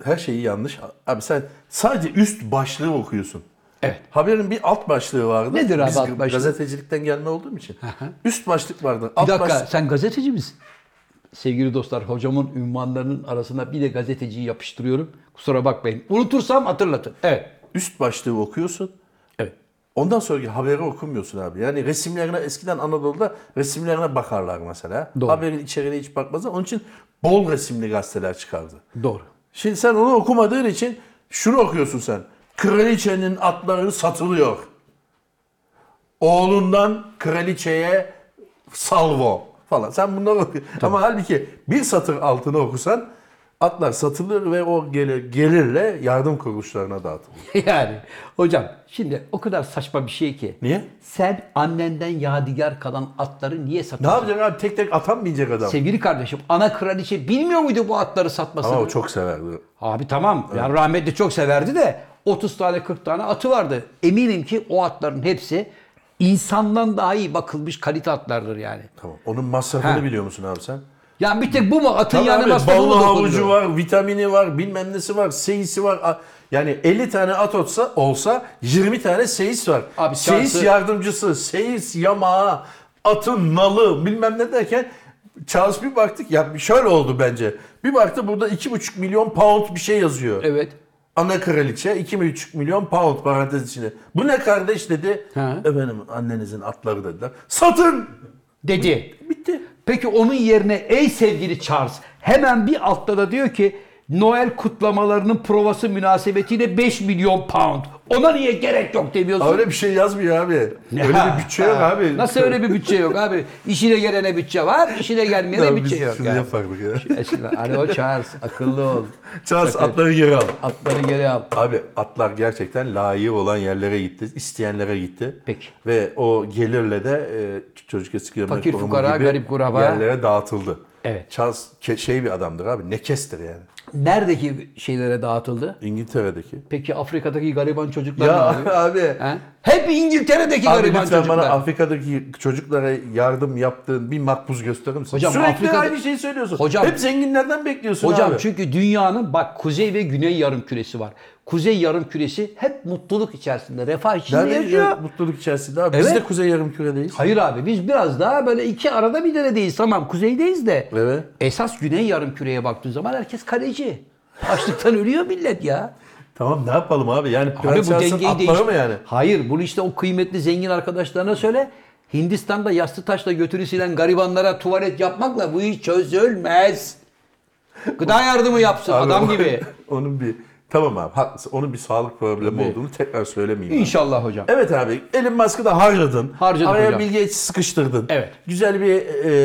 Speaker 1: her şeyi yanlış. Abi sen sadece üst başlığı okuyorsun.
Speaker 2: Evet.
Speaker 1: Haberin bir alt başlığı vardı.
Speaker 2: Nedir abi
Speaker 1: Biz
Speaker 2: alt başlığı?
Speaker 1: Gazetecilikten gelme olduğum için. üst başlık vardı.
Speaker 2: Bir
Speaker 1: Alt
Speaker 2: dakika
Speaker 1: başlık-
Speaker 2: sen gazeteci misin? Sevgili dostlar hocamın ünvanlarının arasına bir de gazeteciyi yapıştırıyorum. Kusura bakmayın. Unutursam hatırlatın. Evet.
Speaker 1: üst başlığı okuyorsun.
Speaker 2: Evet.
Speaker 1: Ondan sonraki haberi okumuyorsun abi. Yani resimlerine eskiden Anadolu'da resimlerine bakarlar mesela.
Speaker 2: Doğru.
Speaker 1: Haberin içeriğine hiç bakmazlar. Onun için bol resimli gazeteler çıkardı.
Speaker 2: Doğru.
Speaker 1: Şimdi sen onu okumadığın için şunu okuyorsun sen. Kraliçenin atları satılıyor. Oğlundan kraliçeye salvo falan. Sen bunları okuyorsun. Ama halbuki bir satır altına okusan atlar satılır ve o gelir, gelirle yardım kuruluşlarına dağıtılır.
Speaker 2: yani hocam şimdi o kadar saçma bir şey ki.
Speaker 1: Niye?
Speaker 2: Sen annenden yadigar kalan atları niye
Speaker 1: Ne
Speaker 2: satıyorsun?
Speaker 1: yapacak abi tek tek atan binecek adam.
Speaker 2: Sevgili kardeşim ana kraliçe bilmiyor muydu bu atları satmasını?
Speaker 1: Ama o çok severdi.
Speaker 2: Abi tamam. Yani rahmetli çok severdi de 30 tane 40 tane atı vardı. Eminim ki o atların hepsi insandan daha iyi bakılmış kalite atlardır yani.
Speaker 1: Tamam. Onun masrafını
Speaker 2: Ha.
Speaker 1: biliyor musun abi sen?
Speaker 2: Yani bir tek bu mu atın
Speaker 1: Tabii
Speaker 2: yani
Speaker 1: abi,
Speaker 2: masrafı mı
Speaker 1: ballı havucu
Speaker 2: dokunuyor?
Speaker 1: var, vitamini var, bilmem nesi var, seyisi var. A- Yani 50 tane at olsa, olsa 20 tane seyis var.
Speaker 2: Abi
Speaker 1: seyis
Speaker 2: şansı-
Speaker 1: yardımcısı, seyis yamağı, atın nalı bilmem ne derken Charles bir baktık ya şöyle oldu bence. Bir baktı burada 2,5 milyon pound bir şey yazıyor.
Speaker 2: Evet.
Speaker 1: Ana kraliçe 2,5 milyon pound parantez içinde. Bu ne kardeş dedi.
Speaker 2: Ha.
Speaker 1: Efendim annenizin atları dediler. Satın!
Speaker 2: Dedi.
Speaker 1: Bitti.
Speaker 2: Peki onun yerine ey sevgili Charles hemen bir altta da diyor ki Noel kutlamalarının provası münasebetiyle 5 milyon pound. Ona niye gerek yok demiyorsun?
Speaker 1: Öyle bir şey yazmıyor abi. Öyle bir bütçe yok abi.
Speaker 2: Nasıl öyle bir bütçe yok abi? İşine gelene bütçe var, işine gelmeyene
Speaker 1: Abi
Speaker 2: bütçe
Speaker 1: biz
Speaker 2: şey yok.
Speaker 1: Şunu
Speaker 2: yani.
Speaker 1: yapardık ya.
Speaker 2: Eskiden, Alo Charles, akıllı ol.
Speaker 1: Charles atları geri al.
Speaker 2: Atları geri al.
Speaker 1: Abi atlar gerçekten layığı olan yerlere gitti. isteyenlere gitti.
Speaker 2: Peki.
Speaker 1: Ve o gelirle de e, çocuk eski yemek
Speaker 2: Fakir
Speaker 1: Kurumu
Speaker 2: fukara,
Speaker 1: gibi
Speaker 2: garip kuraba.
Speaker 1: yerlere dağıtıldı.
Speaker 2: Evet.
Speaker 1: Charles ke- şey bir adamdır abi. Ne kestir yani.
Speaker 2: Neredeki şeylere dağıtıldı?
Speaker 1: İngiltere'deki.
Speaker 2: Peki Afrika'daki gariban çocuklar
Speaker 1: Ya
Speaker 2: ne oluyor?
Speaker 1: abi.
Speaker 2: He? Hep İngiltere'deki
Speaker 1: Abi
Speaker 2: gariban
Speaker 1: lütfen
Speaker 2: çocuklar.
Speaker 1: bana Afrika'daki çocuklara yardım yaptığın bir makbuz gösterir misin?
Speaker 2: Hocam
Speaker 1: Sürekli
Speaker 2: Afrika'da-
Speaker 1: aynı şeyi söylüyorsun.
Speaker 2: Hocam-
Speaker 1: Hep zenginlerden bekliyorsun
Speaker 2: Hocam
Speaker 1: abi.
Speaker 2: çünkü dünyanın bak kuzey ve güney yarım küresi var. Kuzey yarım küresi hep mutluluk içerisinde, refah içinde
Speaker 1: Nerede
Speaker 2: yaşıyor.
Speaker 1: yaşıyor mutluluk içerisinde abi? Biz
Speaker 2: Evet.
Speaker 1: de kuzey yarımküredeyiz.
Speaker 2: Hayır abi biz biraz daha böyle iki arada bir deredeyiz. Tamam kuzeydeyiz de.
Speaker 1: Evet.
Speaker 2: Esas güney yarım küreye baktığın zaman herkes kaleci. Açlıktan ölüyor millet ya.
Speaker 1: Tamam ne yapalım abi? Yani
Speaker 2: Abi bu
Speaker 1: Prens Charles'ın
Speaker 2: dengeyi
Speaker 1: atları
Speaker 2: değiş.
Speaker 1: mı yani?
Speaker 2: Hayır bunu işte o kıymetli zengin arkadaşlarına söyle. Hindistan'da yassı taşla götürü silen garibanlara tuvalet yapmakla bu iş çözülmez. Gıda yardımı yapsın
Speaker 1: Abi
Speaker 2: adam
Speaker 1: o-
Speaker 2: gibi.
Speaker 1: onun bir tamam abi haklısın. Onun bir sağlık problemi
Speaker 2: Tabii.
Speaker 1: olduğunu tekrar söylemeyeyim. abi.
Speaker 2: İnşallah hocam.
Speaker 1: Evet abi Elon Musk'ı da harcadın.
Speaker 2: Harcadık
Speaker 1: Araya
Speaker 2: hocam.
Speaker 1: Bill Gates'i sıkıştırdın.
Speaker 2: Evet.
Speaker 1: Güzel bir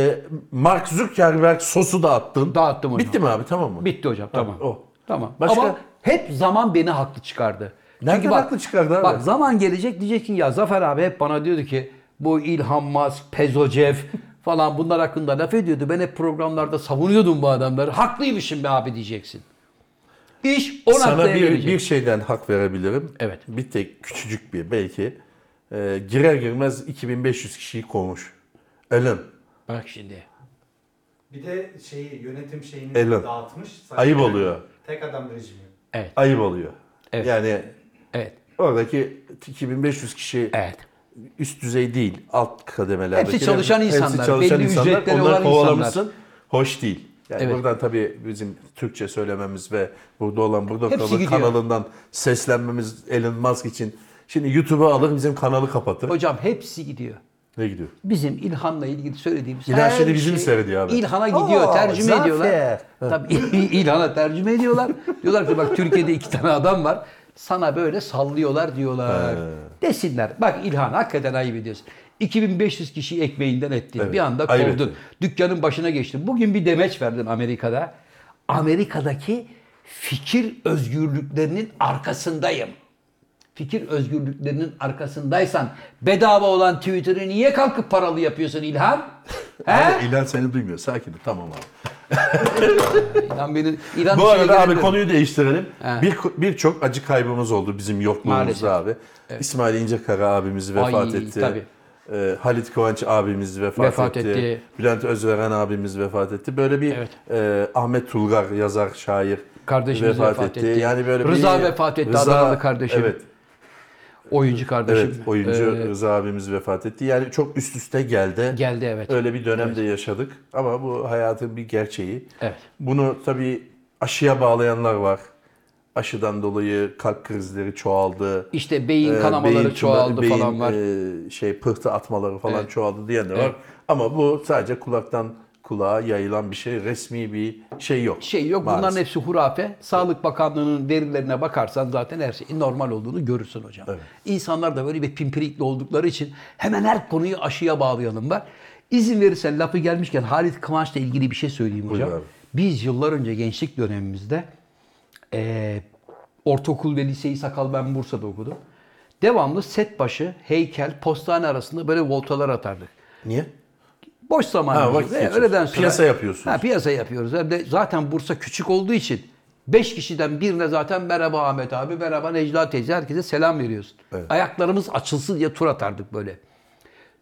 Speaker 1: e, Mark Zuckerberg sosu da attın.
Speaker 2: Dağıttım hocam.
Speaker 1: Bitti mi abi tamam mı?
Speaker 2: Bitti hocam tamam.
Speaker 1: o.
Speaker 2: Tamam.
Speaker 1: Başka?
Speaker 2: Ama hep zaman beni haklı çıkardı.
Speaker 1: Nereden haklı çıkardı abi?
Speaker 2: Bak zaman gelecek diyecek ki ya Zafer abi hep bana diyordu ki bu Ilham Musk, Pezocev falan bunlar hakkında laf ediyordu. Ben hep programlarda savunuyordum bu adamları. Haklıymışım be abi diyeceksin. İş o
Speaker 1: Sana
Speaker 2: noktaya
Speaker 1: bir,
Speaker 2: gelecek.
Speaker 1: bir şeyden hak verebilirim.
Speaker 2: Evet.
Speaker 1: Bir tek küçücük bir belki. E, girer girmez 2500 kişiyi kovmuş. Elon.
Speaker 2: Bak şimdi.
Speaker 3: Bir de şeyi yönetim şeyini
Speaker 1: Elon.
Speaker 3: dağıtmış. Sanki
Speaker 1: Ayıp oluyor.
Speaker 3: Tek adam rejimi.
Speaker 2: Evet.
Speaker 1: Ayıp oluyor.
Speaker 2: Evet.
Speaker 1: Yani
Speaker 2: Evet.
Speaker 1: oradaki 2500 kişi
Speaker 2: Evet.
Speaker 1: üst düzey değil, alt kademelerdeki.
Speaker 2: Hepsi çalışan insanlar, belli ücretleri
Speaker 1: onları
Speaker 2: olan
Speaker 1: kovalamışsın. Hoş değil. Yani
Speaker 2: Evet.
Speaker 1: buradan tabii bizim Türkçe söylememiz ve burada olan burada
Speaker 2: Hepsi
Speaker 1: kalan
Speaker 2: gidiyor.
Speaker 1: kanalından seslenmemiz Elon Musk için. Şimdi YouTube'a alır bizim kanalı kapatır.
Speaker 2: Hocam hepsi gidiyor.
Speaker 1: Ne gidiyor?
Speaker 2: Bizim İlhan'la ilgili söylediğimiz
Speaker 1: İlhan şimdi bizi
Speaker 2: bizim
Speaker 1: mi seyrediyor abi?
Speaker 2: İlhan'a gidiyor,
Speaker 1: Oo,
Speaker 2: tercüme
Speaker 1: Zafer.
Speaker 2: ediyorlar. Tabii İlhan'a tercüme ediyorlar. diyorlar ki bak Türkiye'de iki tane adam var. Sana böyle sallıyorlar diyorlar. Desinler. Bak İlhan hakikaten ayıp ediyorsun. 2500 kişi ekmeğinden ettin.
Speaker 1: Evet,
Speaker 2: Bir anda
Speaker 1: ayıp
Speaker 2: kovdun. Dükkanın başına geçtin. Bugün bir demeç verdin Amerika'da. Amerika'daki fikir özgürlüklerinin arkasındayım fikir özgürlüklerinin arkasındaysan bedava olan Twitter'ı niye kalkıp paralı yapıyorsun İlhan? He?
Speaker 1: İlhan seni duymuyor. Sakin ol. Tamam abi.
Speaker 2: İlhan beni İlhan
Speaker 1: Bu
Speaker 2: bir şey şeye
Speaker 1: arada abi
Speaker 2: gelemiyor.
Speaker 1: konuyu değiştirelim.
Speaker 2: He.
Speaker 1: Bir birçok acı kaybımız oldu bizim
Speaker 2: Maalesef.
Speaker 1: yokluğumuzda abi. İsmail İncekara abimiz vefat
Speaker 2: Ay,
Speaker 1: etti.
Speaker 2: tabii.
Speaker 1: Ee, Halit Kıvanç abimiz vefat,
Speaker 2: Vefat
Speaker 1: etti.
Speaker 2: etti.
Speaker 1: Bülent Özveren abimiz vefat etti. Böyle bir
Speaker 2: Evet.
Speaker 1: e, Ahmet Tulgar yazar, şair
Speaker 2: Kardeşimiz vefat etti.
Speaker 1: Yani böyle
Speaker 2: Rıza
Speaker 1: bir,
Speaker 2: vefat etti, Adanalı kardeşim.
Speaker 1: Evet,
Speaker 2: oyuncu kardeşim.
Speaker 1: evet oyuncu
Speaker 2: Ee,
Speaker 1: Rıza abimiz vefat etti. Yani çok üst üste geldi.
Speaker 2: geldi evet.
Speaker 1: Öyle bir dönemde yaşadık ama bu hayatın bir gerçeği.
Speaker 2: Evet.
Speaker 1: Bunu tabii aşıya bağlayanlar var. Aşıdan dolayı kalp krizleri çoğaldı.
Speaker 2: İşte beyin
Speaker 1: Ee,
Speaker 2: kanamaları
Speaker 1: beyin tümörü-
Speaker 2: çoğaldı
Speaker 1: beyin,
Speaker 2: falan var.
Speaker 1: e, şey pıhtı atmaları falan
Speaker 2: Evet.
Speaker 1: çoğaldı diyenler
Speaker 2: Evet.
Speaker 1: var. Ama bu sadece kulaktan kulağa yayılan bir şey. Resmi bir şey yok.
Speaker 2: şey yok
Speaker 1: Maalesef.
Speaker 2: bunların hepsi hurafe. Sağlık Bakanlığı'nın verilerine bakarsan zaten her şeyin normal olduğunu görürsün hocam. İnsanlar da böyle bir pimpirikli oldukları için hemen her konuyu aşıya bağlayalım var. İzin verirsen lafı gelmişken Halit Kıvanç'la ilgili bir şey söyleyeyim hocam.
Speaker 1: abi.
Speaker 2: Biz yıllar önce gençlik dönemimizde eee ortaokul ve liseyi sakal ben Bursa'da okudum. Devamlı set başı, heykel, postane arasında böyle voltalar atardık.
Speaker 1: Niye?
Speaker 2: Boş
Speaker 1: Ha,
Speaker 2: zamanımız.
Speaker 1: vakit
Speaker 2: Ve
Speaker 1: geçiriyorsunuz.
Speaker 2: öğleden sonra.
Speaker 1: Piyasa yapıyorsunuz.
Speaker 2: Ha, piyasa yapıyoruz. Hem de zaten Bursa küçük olduğu için 5 kişiden birine zaten merhaba Ahmet abi, merhaba Necla teyze herkese selam veriyorsun.
Speaker 1: Evet.
Speaker 2: Ayaklarımız açılsın diye tur atardık böyle.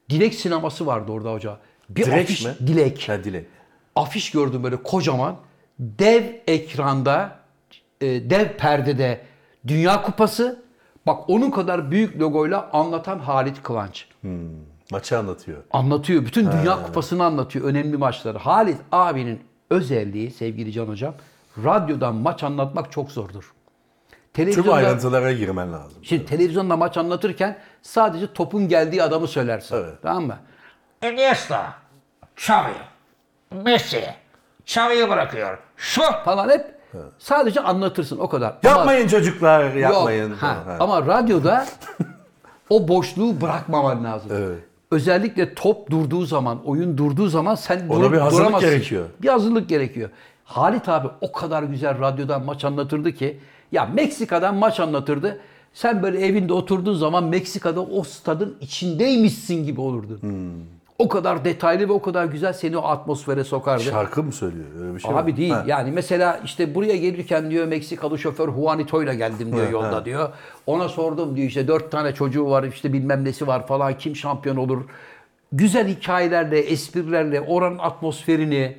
Speaker 2: Dilek sineması vardı orada hoca. Bir
Speaker 1: Direkt
Speaker 2: afiş,
Speaker 1: mi?
Speaker 2: Dilek
Speaker 1: Ha, dilek.
Speaker 2: afiş gördüm böyle kocaman. Dev ekranda, e, dev perdede Dünya Kupası. Bak onun kadar büyük logoyla anlatan Halit Kıvanç.
Speaker 1: Maçı anlatıyor.
Speaker 2: Anlatıyor. Bütün Dünya Kupası'nı anlatıyor. Önemli maçları. Halit abinin özelliği sevgili Can Hocam, radyodan maç anlatmak çok zordur.
Speaker 1: Tüm
Speaker 2: Televizyonda,
Speaker 1: ayrıntılara girmen lazım.
Speaker 2: şimdi televizyonda maç anlatırken sadece topun geldiği adamı söylersin.
Speaker 1: Evet.
Speaker 2: Tamam mı?
Speaker 4: Iniesta, Xavi, Messi, Xavi'yi bırakıyor. Şut!
Speaker 2: Falan hep Sadece anlatırsın o kadar. Ama-
Speaker 1: Yapmayın çocuklar yapmayın.
Speaker 2: Yok, ha.
Speaker 1: Ha.
Speaker 2: Ama radyoda o boşluğu bırakmaman lazım.
Speaker 1: Evet.
Speaker 2: Özellikle top durduğu zaman, oyun durduğu zaman sen
Speaker 1: Ona
Speaker 2: durup
Speaker 1: bir hazırlık
Speaker 2: duramazsın.
Speaker 1: gerekiyor.
Speaker 2: Bir hazırlık gerekiyor. Halit abi o kadar güzel radyodan maç anlatırdı ki. Ya Meksika'dan maç anlatırdı. Sen böyle evinde oturduğun zaman Meksika'da o stadın içindeymişsin gibi olurdun.
Speaker 1: Hmm.
Speaker 2: O kadar detaylı ve o kadar güzel seni o atmosfere sokardı.
Speaker 1: Şarkı mı söylüyor? Öyle bir şey
Speaker 2: Abi
Speaker 1: mi?
Speaker 2: değil.
Speaker 1: Ha.
Speaker 2: Yani mesela işte buraya gelirken diyor Meksikalı şoför Juanito'yla geldim diyor yolda diyor. Ona sordum diyor işte dört tane çocuğu var işte bilmem nesi var falan kim şampiyon olur. Güzel hikayelerle, esprilerle oranın atmosferini,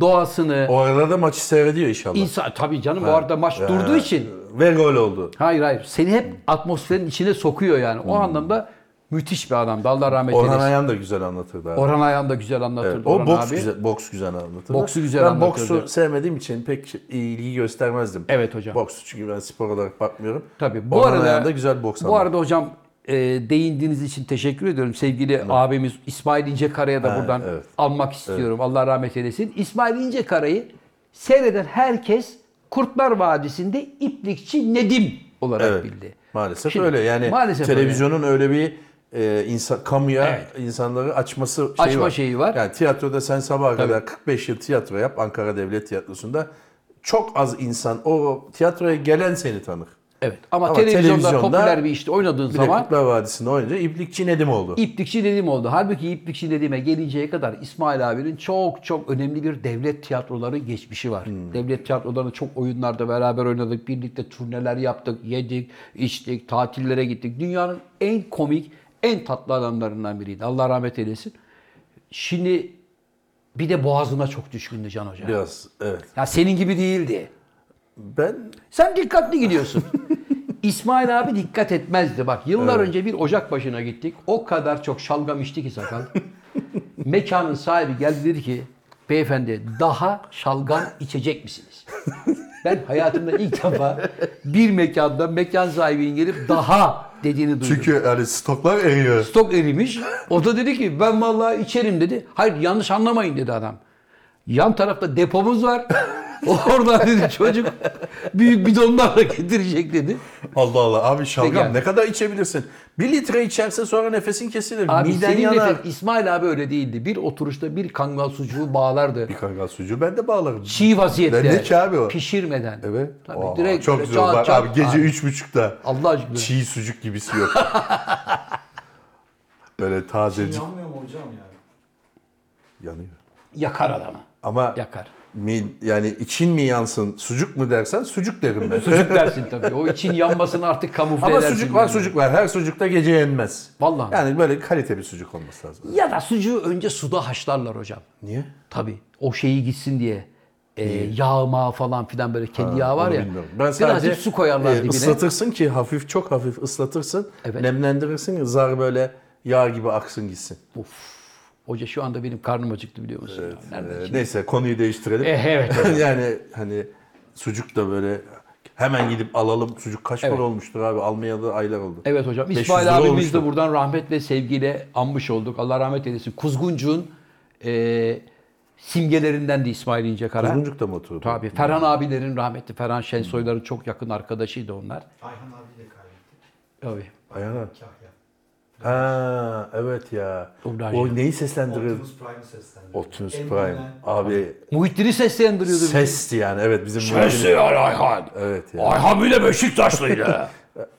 Speaker 2: doğasını.
Speaker 1: O arada maçı seyrediyor inşallah.
Speaker 2: insan tabii canım o arada maç durduğu için.
Speaker 1: Ve gol oldu.
Speaker 2: Hayır hayır. Seni hep atmosferin içine sokuyor yani. O anlamda müthiş bir adamdı. Allah rahmet
Speaker 1: Hmm. Orhan
Speaker 2: eylesin.
Speaker 1: Ayan da güzel anlatırdı abi.
Speaker 2: Orhan Ayhan da güzel anlatırdı.
Speaker 1: Evet, o
Speaker 2: Orhan
Speaker 1: boks
Speaker 2: abi.
Speaker 1: güzel, boks güzel anlatırdı.
Speaker 2: Boksu güzel
Speaker 1: ben
Speaker 2: anlatırdı.
Speaker 1: boksu sevmediğim için pek ilgi göstermezdim.
Speaker 2: Evet hocam.
Speaker 1: Boksu çünkü ben spor olarak bakmıyorum.
Speaker 2: Tabii. Bu
Speaker 1: Orhan
Speaker 2: arada
Speaker 1: Ayan da güzel boks
Speaker 2: Bu arada hocam e, değindiğiniz için teşekkür ediyorum. Sevgili abimiz İsmail İncekara'ya da
Speaker 1: Ha,
Speaker 2: buradan
Speaker 1: evet.
Speaker 2: almak istiyorum. Allah rahmet eylesin. İsmail İncekara'yı seyreden herkes Kurtlar Vadisi'nde İplikçi Nedim olarak
Speaker 1: Evet.
Speaker 2: bildi.
Speaker 1: Maalesef
Speaker 2: Şimdi,
Speaker 1: öyle. Yani
Speaker 2: maalesef
Speaker 1: televizyonun öyle, bir e, insan, kamuya
Speaker 2: Evet.
Speaker 1: insanları açması şeyi
Speaker 2: Açma
Speaker 1: var.
Speaker 2: şeyi var.
Speaker 1: Yani tiyatroda sen sabaha kadar 45 yıl tiyatro yap Ankara Devlet Tiyatrosu'nda çok az insan o tiyatroya gelen seni tanır.
Speaker 2: Evet. Ama,
Speaker 1: Ama
Speaker 2: televizyonda,
Speaker 1: televizyonda
Speaker 2: popüler bir işte oynadığın
Speaker 1: Bir de
Speaker 2: zaman
Speaker 1: Kurtlar Vadisi'nde oynayınca İblikçi Nedim oldu.
Speaker 2: İplikçi Nedim oldu. Halbuki İplikçi Nedim'e gelinceye kadar İsmail abinin çok çok önemli bir devlet tiyatroları geçmişi var. Devlet tiyatrolarında çok oyunlarda beraber oynadık. Birlikte turneler yaptık, yedik, içtik, tatillere gittik. Dünyanın en komik, en tatlı adamlarından biriydi. Allah rahmet eylesin. Şimdi bir de boğazına çok düşkündü Can Hoca.
Speaker 1: Biraz evet.
Speaker 2: Ya senin gibi değildi.
Speaker 1: Ben
Speaker 2: Sen dikkatli gidiyorsun. İsmail abi dikkat etmezdi. Bak yıllar önce bir ocak başına gittik. O kadar çok şalgam içti ki sakal. Mekanın sahibi geldi dedi ki beyefendi daha şalgam içecek misiniz? Ben hayatımda ilk defa bir mekanda mekan sahibinin gelip daha dediğini duydum.
Speaker 1: çünkü hani stoklar eriyor.
Speaker 2: Stok erimiş. O da dedi ki ben vallahi içerim dedi. Hayır yanlış anlamayın dedi adam. Yan tarafta depomuz var. Oradan dedi çocuk büyük bidonlarla getirecek dedi.
Speaker 1: Allah Allah abi
Speaker 2: Peki.
Speaker 1: şalgam ne kadar içebilirsin? Bir litre içersen sonra nefesin kesilir.
Speaker 2: Abi
Speaker 1: Miden
Speaker 2: senin
Speaker 1: yanar.
Speaker 2: nefes- İsmail abi öyle değildi. Bir oturuşta bir kangal sucuğu bağlardı.
Speaker 1: Bir kangal sucuğu ben de bağlarım.
Speaker 2: Çiğ vaziyette.
Speaker 1: Ne ki abi o?
Speaker 2: Pişirmeden.
Speaker 1: Evet.
Speaker 2: Tabii
Speaker 1: Aa,
Speaker 2: direkt
Speaker 1: çok
Speaker 2: böyle
Speaker 1: güzel.
Speaker 2: çat
Speaker 1: Bak
Speaker 2: çat.
Speaker 1: abi gece
Speaker 2: Abi,
Speaker 1: üç buçukta
Speaker 2: Allah aşkına.
Speaker 1: çiğ sucuk gibisi yok. Böyle tazecik
Speaker 3: Yanmıyor mu hocam yani?
Speaker 1: yanıyor.
Speaker 2: Yakar adamı.
Speaker 1: Ama
Speaker 2: Yakar.
Speaker 1: mi, yani için mi yansın sucuk mu dersen sucuk derim ben.
Speaker 2: Sucuk dersin tabii. O için yanmasını artık kamufle
Speaker 1: Ama
Speaker 2: edersin
Speaker 1: sucuk var
Speaker 2: yani.
Speaker 1: sucuk var. Her sucukta gece yenmez.
Speaker 2: Vallahi.
Speaker 1: Yani böyle kalite bir sucuk olması lazım.
Speaker 2: Ya da sucuğu önce suda haşlarlar hocam.
Speaker 1: Niye?
Speaker 2: Tabii. O şeyi gitsin diye. E, yağ mağı falan filan böyle kedi yağı var
Speaker 1: Onu
Speaker 2: ya.
Speaker 1: bilmiyorum. Ben
Speaker 2: Birazcık
Speaker 1: sadece
Speaker 2: su koyarlar
Speaker 1: e,
Speaker 2: dibine.
Speaker 1: ıslatırsın ki hafif çok hafif ıslatırsın.
Speaker 2: Evet.
Speaker 1: Nemlendirirsin ki zar böyle yağ gibi aksın gitsin. E,
Speaker 2: Hoca şu anda benim karnım acıktı biliyor musun? ya? Nereden
Speaker 1: Ee, neyse konuyu değiştirelim.
Speaker 2: Eh, evet.
Speaker 1: yani hani sucuk da böyle hemen gidip alalım. Sucuk kaç
Speaker 2: Evet.
Speaker 1: para olmuştur abi? Almayalı aylar oldu.
Speaker 2: Evet hocam.
Speaker 1: 500
Speaker 2: İsmail
Speaker 1: lira
Speaker 2: abimiz de
Speaker 1: olmuştu.
Speaker 2: buradan rahmet ve sevgiyle anmış olduk. Allah rahmet eylesin. Kuzguncu'nun e, simgelerinden de İsmail İncekara.
Speaker 1: Kuzguncuk da mı oturdu?
Speaker 2: Tabii. Ferhan abilerin rahmetli. Ferhan Şensoyların çok yakın arkadaşıydı onlar.
Speaker 3: Ayhan abiyle kaybettik.
Speaker 2: Tabii.
Speaker 1: Ayana.
Speaker 3: Kahya.
Speaker 1: Ha evet ya.
Speaker 2: Dublaj
Speaker 1: O
Speaker 2: ya.
Speaker 1: neyi seslendirir?
Speaker 3: Optimus Prime seslendi.
Speaker 1: Optimus
Speaker 3: En
Speaker 1: Prime.
Speaker 3: bilinen-
Speaker 1: Abi
Speaker 2: Muhittin'i seslendiriyordu. bizi.
Speaker 1: sesti yani evet bizim
Speaker 2: Sesi yani Ayhan.
Speaker 1: Evet ya.
Speaker 2: Ayhan bile Beşiktaşlıydı.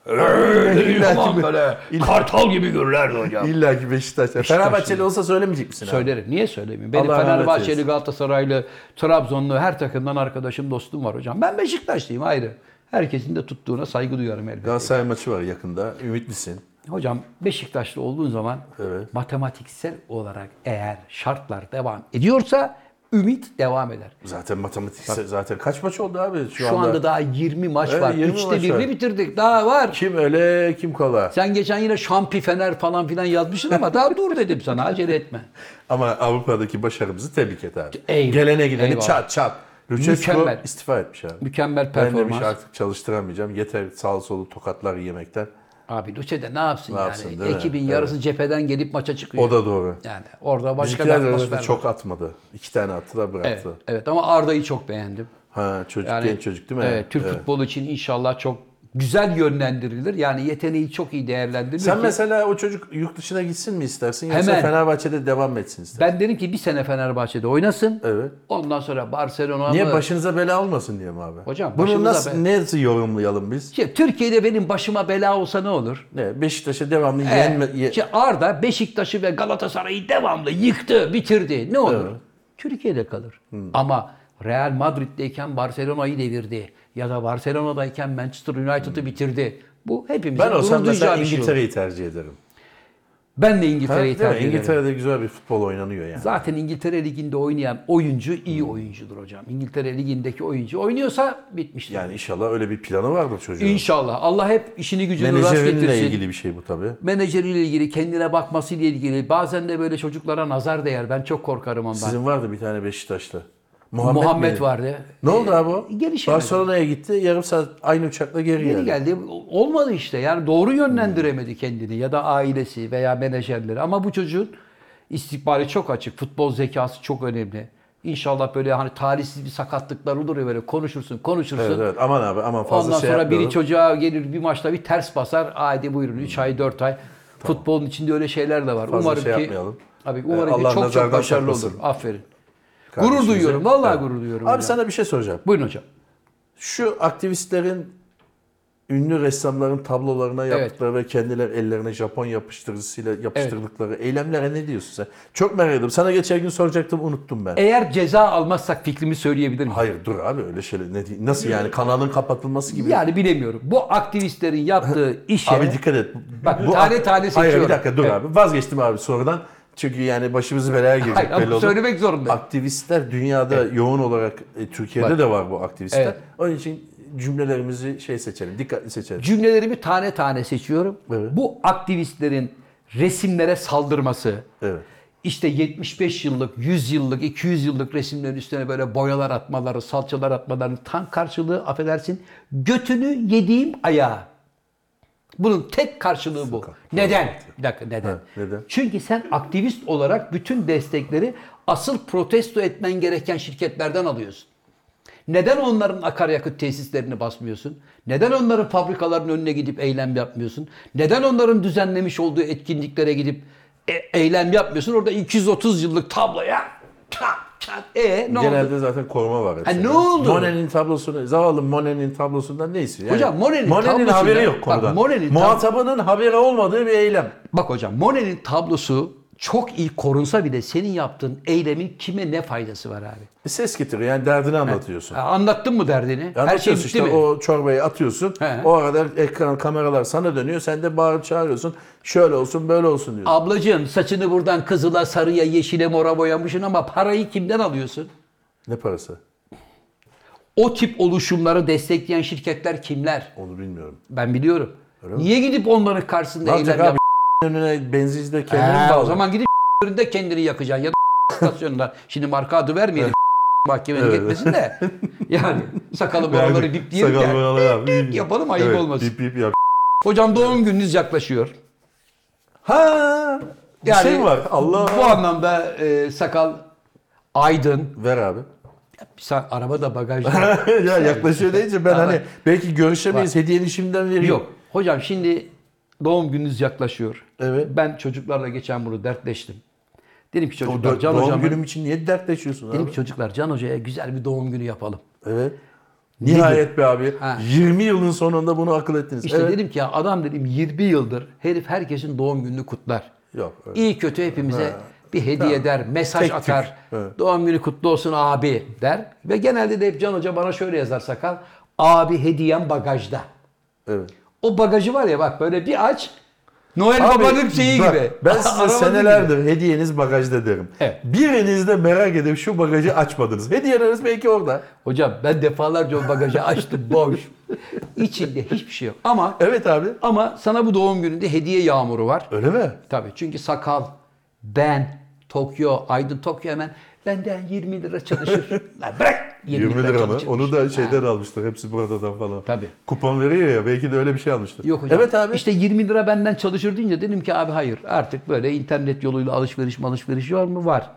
Speaker 2: Öyle aman böyle kartal gibi görürlerdi hocam.
Speaker 1: İlla ki Beşiktaş. Fenerbahçeli olsa söylemeyecek misin? abi?
Speaker 2: Söylerim. Niye söylemeyeyim? Benim
Speaker 1: Allah rahmet
Speaker 2: Fenerbahçeli,
Speaker 1: eylesin.
Speaker 2: Galatasaraylı, Trabzonlu her takımdan arkadaşım, dostum var hocam. Ben Beşiktaşlıyım ayrı. Herkesin de tuttuğuna saygı duyarım elbette.
Speaker 1: Galatasaray maçı var yakında. Ümitlisin.
Speaker 2: Hocam Beşiktaşlı olduğun zaman
Speaker 1: Evet.
Speaker 2: matematiksel olarak eğer şartlar devam ediyorsa ümit devam eder.
Speaker 1: Zaten matematikse zaten kaç maç oldu abi şu,
Speaker 2: Şu anda, daha 20 maç
Speaker 1: Evet,
Speaker 2: var.
Speaker 1: 20
Speaker 2: Üçte
Speaker 1: maç
Speaker 2: birini
Speaker 1: var.
Speaker 2: bitirdik. Daha var.
Speaker 1: Kim öyle kim kola.
Speaker 2: Sen geçen yine Şampi Fener falan filan yazmışsın ama daha dur dedim sana acele etme.
Speaker 1: Ama Avrupa'daki başarımızı tebrik et abi.
Speaker 2: Eyvallah.
Speaker 1: Gelene gideni
Speaker 2: Eyvallah.
Speaker 1: çat çat. Lucescu
Speaker 2: Mükemmel.
Speaker 1: istifa etmiş abi.
Speaker 2: Mükemmel
Speaker 1: Ben
Speaker 2: performans.
Speaker 1: demiş artık çalıştıramayacağım. Yeter sağ solu tokatlar yemekten.
Speaker 2: Abi Luce'de ne yapsın
Speaker 1: Ne
Speaker 2: yani?
Speaker 1: yapsın, değil mi?
Speaker 2: Ekibin yarısı cepheden gelip maça çıkıyor.
Speaker 1: O da doğru.
Speaker 2: Yani orada başka bir
Speaker 1: Bizimkiler de
Speaker 2: atmosfer
Speaker 1: zaten
Speaker 2: var.
Speaker 1: çok atmadı. İki tane attı da bıraktı.
Speaker 2: Evet, evet ama Arda'yı çok beğendim.
Speaker 1: Ha çocuk genç çocuk değil mi?
Speaker 2: Evet, Türk futbolu için inşallah çok güzel yönlendirilir. Yani yeteneği çok iyi değerlendirilir.
Speaker 1: Sen
Speaker 2: ki-
Speaker 1: mesela o çocuk yurt dışına gitsin mi istersin yoksa
Speaker 2: Hemen.
Speaker 1: Fenerbahçe'de devam etsin istersin?
Speaker 2: ben derim ki bir sene Fenerbahçe'de oynasın.
Speaker 1: Evet.
Speaker 2: Ondan sonra Barcelona
Speaker 1: Niye
Speaker 2: mı?
Speaker 1: başınıza bela olmasın diye mi abi?
Speaker 2: Hocam,
Speaker 1: Bunu
Speaker 2: başımıza
Speaker 1: nasıl,
Speaker 2: bela-
Speaker 1: nasıl yorumlayalım biz?
Speaker 2: Şey, Türkiye'de benim başıma bela olsa ne olur?
Speaker 1: Ne, Beşiktaş'a devamlı
Speaker 2: Ee,
Speaker 1: yenme... ye-
Speaker 2: işte Arda Beşiktaş'ı ve Galatasaray'ı devamlı yıktı, bitirdi. Ne olur? Türkiye'de kalır.
Speaker 1: Hmm.
Speaker 2: Ama Real Madrid'deyken Barcelona'yı devirdi. Ya da Barcelona'dayken Manchester United'ı bitirdi. Bu hepimizin
Speaker 1: Hmm. ben olsam
Speaker 2: gurur
Speaker 1: mesela
Speaker 2: duyacağı bir şey olur.
Speaker 1: İngiltere'yi tercih ederim.
Speaker 2: Ben de
Speaker 1: Ha,
Speaker 2: İngiltere'yi
Speaker 1: değil mi?
Speaker 2: tercih ederim.
Speaker 1: İngiltere'de güzel bir futbol oynanıyor yani.
Speaker 2: Zaten İngiltere Ligi'nde oynayan oyuncu
Speaker 1: Hmm.
Speaker 2: iyi oyuncudur hocam. İngiltere Ligi'ndeki oyuncu oynuyorsa bitmiştir.
Speaker 1: Yani inşallah öyle bir planı vardır çocuğun.
Speaker 2: İnşallah. Allah hep işini gücünü rast
Speaker 1: Menajerinle
Speaker 2: getirsin.
Speaker 1: ilgili bir şey bu tabii.
Speaker 2: Menajeriyle ilgili, kendine bakmasıyla ilgili. Bazen de böyle çocuklara nazar değer. Ben çok korkarım ondan.
Speaker 1: Sizin vardı bir tane Beşiktaşlı.
Speaker 2: Muhammed,
Speaker 1: miydi?
Speaker 2: vardı.
Speaker 1: Ne oldu abi o?
Speaker 2: gelişemedi.
Speaker 1: Barcelona'ya gitti. Yarım saat aynı uçakla geri,
Speaker 2: Yeni
Speaker 1: geldi.
Speaker 2: geldi. Olmadı işte. Yani doğru yönlendiremedi kendini ya da ailesi veya menajerleri. Ama bu çocuğun istikbali çok açık. Futbol zekası çok önemli. İnşallah böyle hani talihsiz bir sakatlıklar olur ya böyle konuşursun konuşursun.
Speaker 1: Evet, evet. Aman abi aman fazla
Speaker 2: Ondan
Speaker 1: şey
Speaker 2: sonra biri
Speaker 1: yapmayalım.
Speaker 2: çocuğa gelir bir maçta bir ters basar. Haydi buyurun 3 ay 4 ay. Futbolun içinde öyle şeyler de var.
Speaker 1: Fazla
Speaker 2: umarım
Speaker 1: şey
Speaker 2: ki
Speaker 1: yapmayalım.
Speaker 2: Abi
Speaker 1: Ee,
Speaker 2: umarım
Speaker 1: Allah
Speaker 2: ki çok
Speaker 1: nazardan
Speaker 2: çok başarılı olur.
Speaker 1: saklasın.
Speaker 2: Aferin. Gurur
Speaker 1: Kardeşimize.
Speaker 2: duyuyorum. Vallahi
Speaker 1: Evet.
Speaker 2: gurur duyuyorum.
Speaker 1: Abi
Speaker 2: hocam.
Speaker 1: sana bir şey soracağım.
Speaker 2: Buyurun hocam.
Speaker 1: Şu aktivistlerin ünlü ressamların tablolarına
Speaker 2: Evet.
Speaker 1: yaptıkları ve kendiler ellerine Japon yapıştırıcısıyla yapıştırdıkları eylemlere ne diyorsun sen? Çok merak ediyorum. Sana geçen gün soracaktım unuttum ben.
Speaker 2: Eğer ceza almazsak fikrimi söyleyebilir miyim?
Speaker 1: Hayır dur abi öyle şeyler ne diye- nasıl yani kanalın kapatılması gibi.
Speaker 2: Yani bilemiyorum. Bu aktivistlerin yaptığı işe
Speaker 1: Abi dikkat et.
Speaker 2: Bak, tane tane
Speaker 1: Hayır bir
Speaker 2: seçiyorum.
Speaker 1: dakika dur
Speaker 2: Evet.
Speaker 1: abi. Vazgeçtim abi sorudan. Çünkü yani başımızı belaya girecek
Speaker 2: Hayır, ama
Speaker 1: belli oldu.
Speaker 2: söylemek zorundayım.
Speaker 1: Aktivistler dünyada yoğun olarak e, Türkiye'de
Speaker 2: Bak.
Speaker 1: de var bu aktivistler.
Speaker 2: Evet.
Speaker 1: Onun için cümlelerimizi şey seçelim. Dikkatli seçelim.
Speaker 2: cümlelerimi tane tane seçiyorum.
Speaker 1: Evet.
Speaker 2: Bu aktivistlerin resimlere saldırması,
Speaker 1: Evet.
Speaker 2: işte 75 yıllık, 100 yıllık, 200 yıllık resimlerin üstüne böyle boyalar atmaları, salçalar atmalarının tam karşılığı affedersin götünü yediğim ayağı. Bunun tek karşılığı bu. Neden? Bir dakika neden?
Speaker 1: Ha, neden?
Speaker 2: Çünkü sen aktivist olarak bütün destekleri asıl protesto etmen gereken şirketlerden alıyorsun. Neden onların akaryakıt tesislerini basmıyorsun? Neden onların fabrikalarının önüne gidip eylem yapmıyorsun? Neden onların düzenlemiş olduğu etkinliklere gidip e- eylem yapmıyorsun? Orada 230 yıllık tabloya tak tak e ne oldu?
Speaker 1: Genelde zaten koruma var. hepsinde.
Speaker 2: ne oldu?
Speaker 1: Monet'in tablosunu, zavallı Monet'in tablosundan ne istiyor?
Speaker 2: Hocam, Monet'in tablosunda-
Speaker 1: haberi yok
Speaker 2: Bak,
Speaker 1: konudan.
Speaker 2: Monet'in tab-
Speaker 1: Muhatabının haberi olmadığı bir eylem.
Speaker 2: Bak hocam Monet'in tablosu çok iyi korunsa bile senin yaptığın eylemin kime ne faydası var abi?
Speaker 1: Bir E, ses getiriyor yani derdini anlatıyorsun.
Speaker 2: Ha, Anlattın mı derdini? Her şey
Speaker 1: Anlatıyorsun
Speaker 2: bitti
Speaker 1: işte
Speaker 2: mi?
Speaker 1: o çorbayı atıyorsun.
Speaker 2: He.
Speaker 1: O arada ekran kameralar sana dönüyor. Sen de bağırıp çağırıyorsun. Şöyle olsun böyle olsun diyorsun.
Speaker 2: Ablacığım saçını buradan kızıla, sarıya, yeşile, mora boyamışsın ama parayı kimden alıyorsun?
Speaker 1: Ne parası?
Speaker 2: O tip oluşumları destekleyen şirketler kimler?
Speaker 1: Onu bilmiyorum.
Speaker 2: Ben biliyorum. Niye gidip onların
Speaker 1: Ne
Speaker 2: karşısında
Speaker 1: yapacak
Speaker 2: eylem
Speaker 1: abi?
Speaker 2: yap?
Speaker 1: önüne benzinci kendini mi
Speaker 2: Ee, o
Speaker 1: bağlı?
Speaker 2: zaman gidip de kendini yakacaksın ya da stasyonda. Şimdi marka adı vermeyelim. mahkemenin
Speaker 1: Evet.
Speaker 2: gitmesin de. Yani sakalı
Speaker 1: Yani
Speaker 2: boraları dip diyelim
Speaker 1: sakal
Speaker 2: yani.
Speaker 1: boyalı abi.
Speaker 2: yapalım, ayıp
Speaker 1: Evet,
Speaker 2: olmasın.
Speaker 1: Bip bip yap.
Speaker 2: Hocam doğum gününüz yaklaşıyor.
Speaker 1: Ha! Bir
Speaker 2: Yani
Speaker 1: şey var. Allah.
Speaker 2: Bu anlamda e, sakal aydın.
Speaker 1: Ver abi.
Speaker 2: Sen arabada bagajda.
Speaker 1: ya yaklaşıyor deyince ben
Speaker 2: Ha,
Speaker 1: hani
Speaker 2: bak.
Speaker 1: belki görüşemeyiz. Hediyeni şimdiden vereyim.
Speaker 2: Yok. Hocam şimdi doğum gününüz yaklaşıyor.
Speaker 1: Evet.
Speaker 2: Ben çocuklarla geçen bunu dertleştim. Dedim ki
Speaker 1: O
Speaker 2: çocuklar
Speaker 1: dö-
Speaker 2: Can
Speaker 1: doğum
Speaker 2: Hocam'a
Speaker 1: günüm için niye dertleşiyorsun
Speaker 2: dedim
Speaker 1: abi?
Speaker 2: ki çocuklar Can Hoca'ya güzel bir doğum günü yapalım.
Speaker 1: Evet. Nihayet be abi.
Speaker 2: Ha.
Speaker 1: 20 yılın sonunda bunu akıl ettiniz.
Speaker 2: İşte
Speaker 1: evet.
Speaker 2: dedim ki ya adam dedim 20 yıldır herif herkesin doğum gününü kutlar.
Speaker 1: Yok. evet.
Speaker 2: İyi kötü hepimize bir hediye eder, mesaj
Speaker 1: Tek tük.
Speaker 2: atar.
Speaker 1: Evet.
Speaker 2: Doğum günü kutlu olsun abi der. Ve genelde de hep Can Hoca bana şöyle yazar sakal. Abi hediyem bagajda.
Speaker 1: Evet.
Speaker 2: O bagajı var ya bak böyle bir aç. Noel
Speaker 1: Abi,
Speaker 2: Baba'nın şeyi
Speaker 1: bak,
Speaker 2: gibi.
Speaker 1: Ben size
Speaker 2: Arabanın gibi.
Speaker 1: senelerdir hediyeniz bagajda derim.
Speaker 2: Evet.
Speaker 1: Biriniz de merak edip şu bagajı açmadınız. Hediyeleriniz belki orada.
Speaker 2: Hocam ben defalarca o bagajı açtım boş. İçinde hiçbir şey yok. Ama
Speaker 1: Evet abi.
Speaker 2: ama sana bu doğum gününde hediye yağmuru var.
Speaker 1: Öyle mi?
Speaker 2: Tabii çünkü sakal, ben, Tokyo, Aydın Tokyo hemen benden 20 lira çalışır. Lan bırak 20,
Speaker 1: 20
Speaker 2: lira
Speaker 1: lira mı?
Speaker 2: çalışırmış.
Speaker 1: Onu da
Speaker 2: Ha.
Speaker 1: şeyden almışlar. Hepsi buradan falan.
Speaker 2: Tabii.
Speaker 1: Kupon veriyor ya. Belki de öyle bir şey almıştır.
Speaker 2: Yok hocam.
Speaker 1: Evet abi.
Speaker 2: İşte 20 lira benden çalışır deyince dedim ki abi hayır artık böyle internet yoluyla alışveriş malışveriş var mı? Var.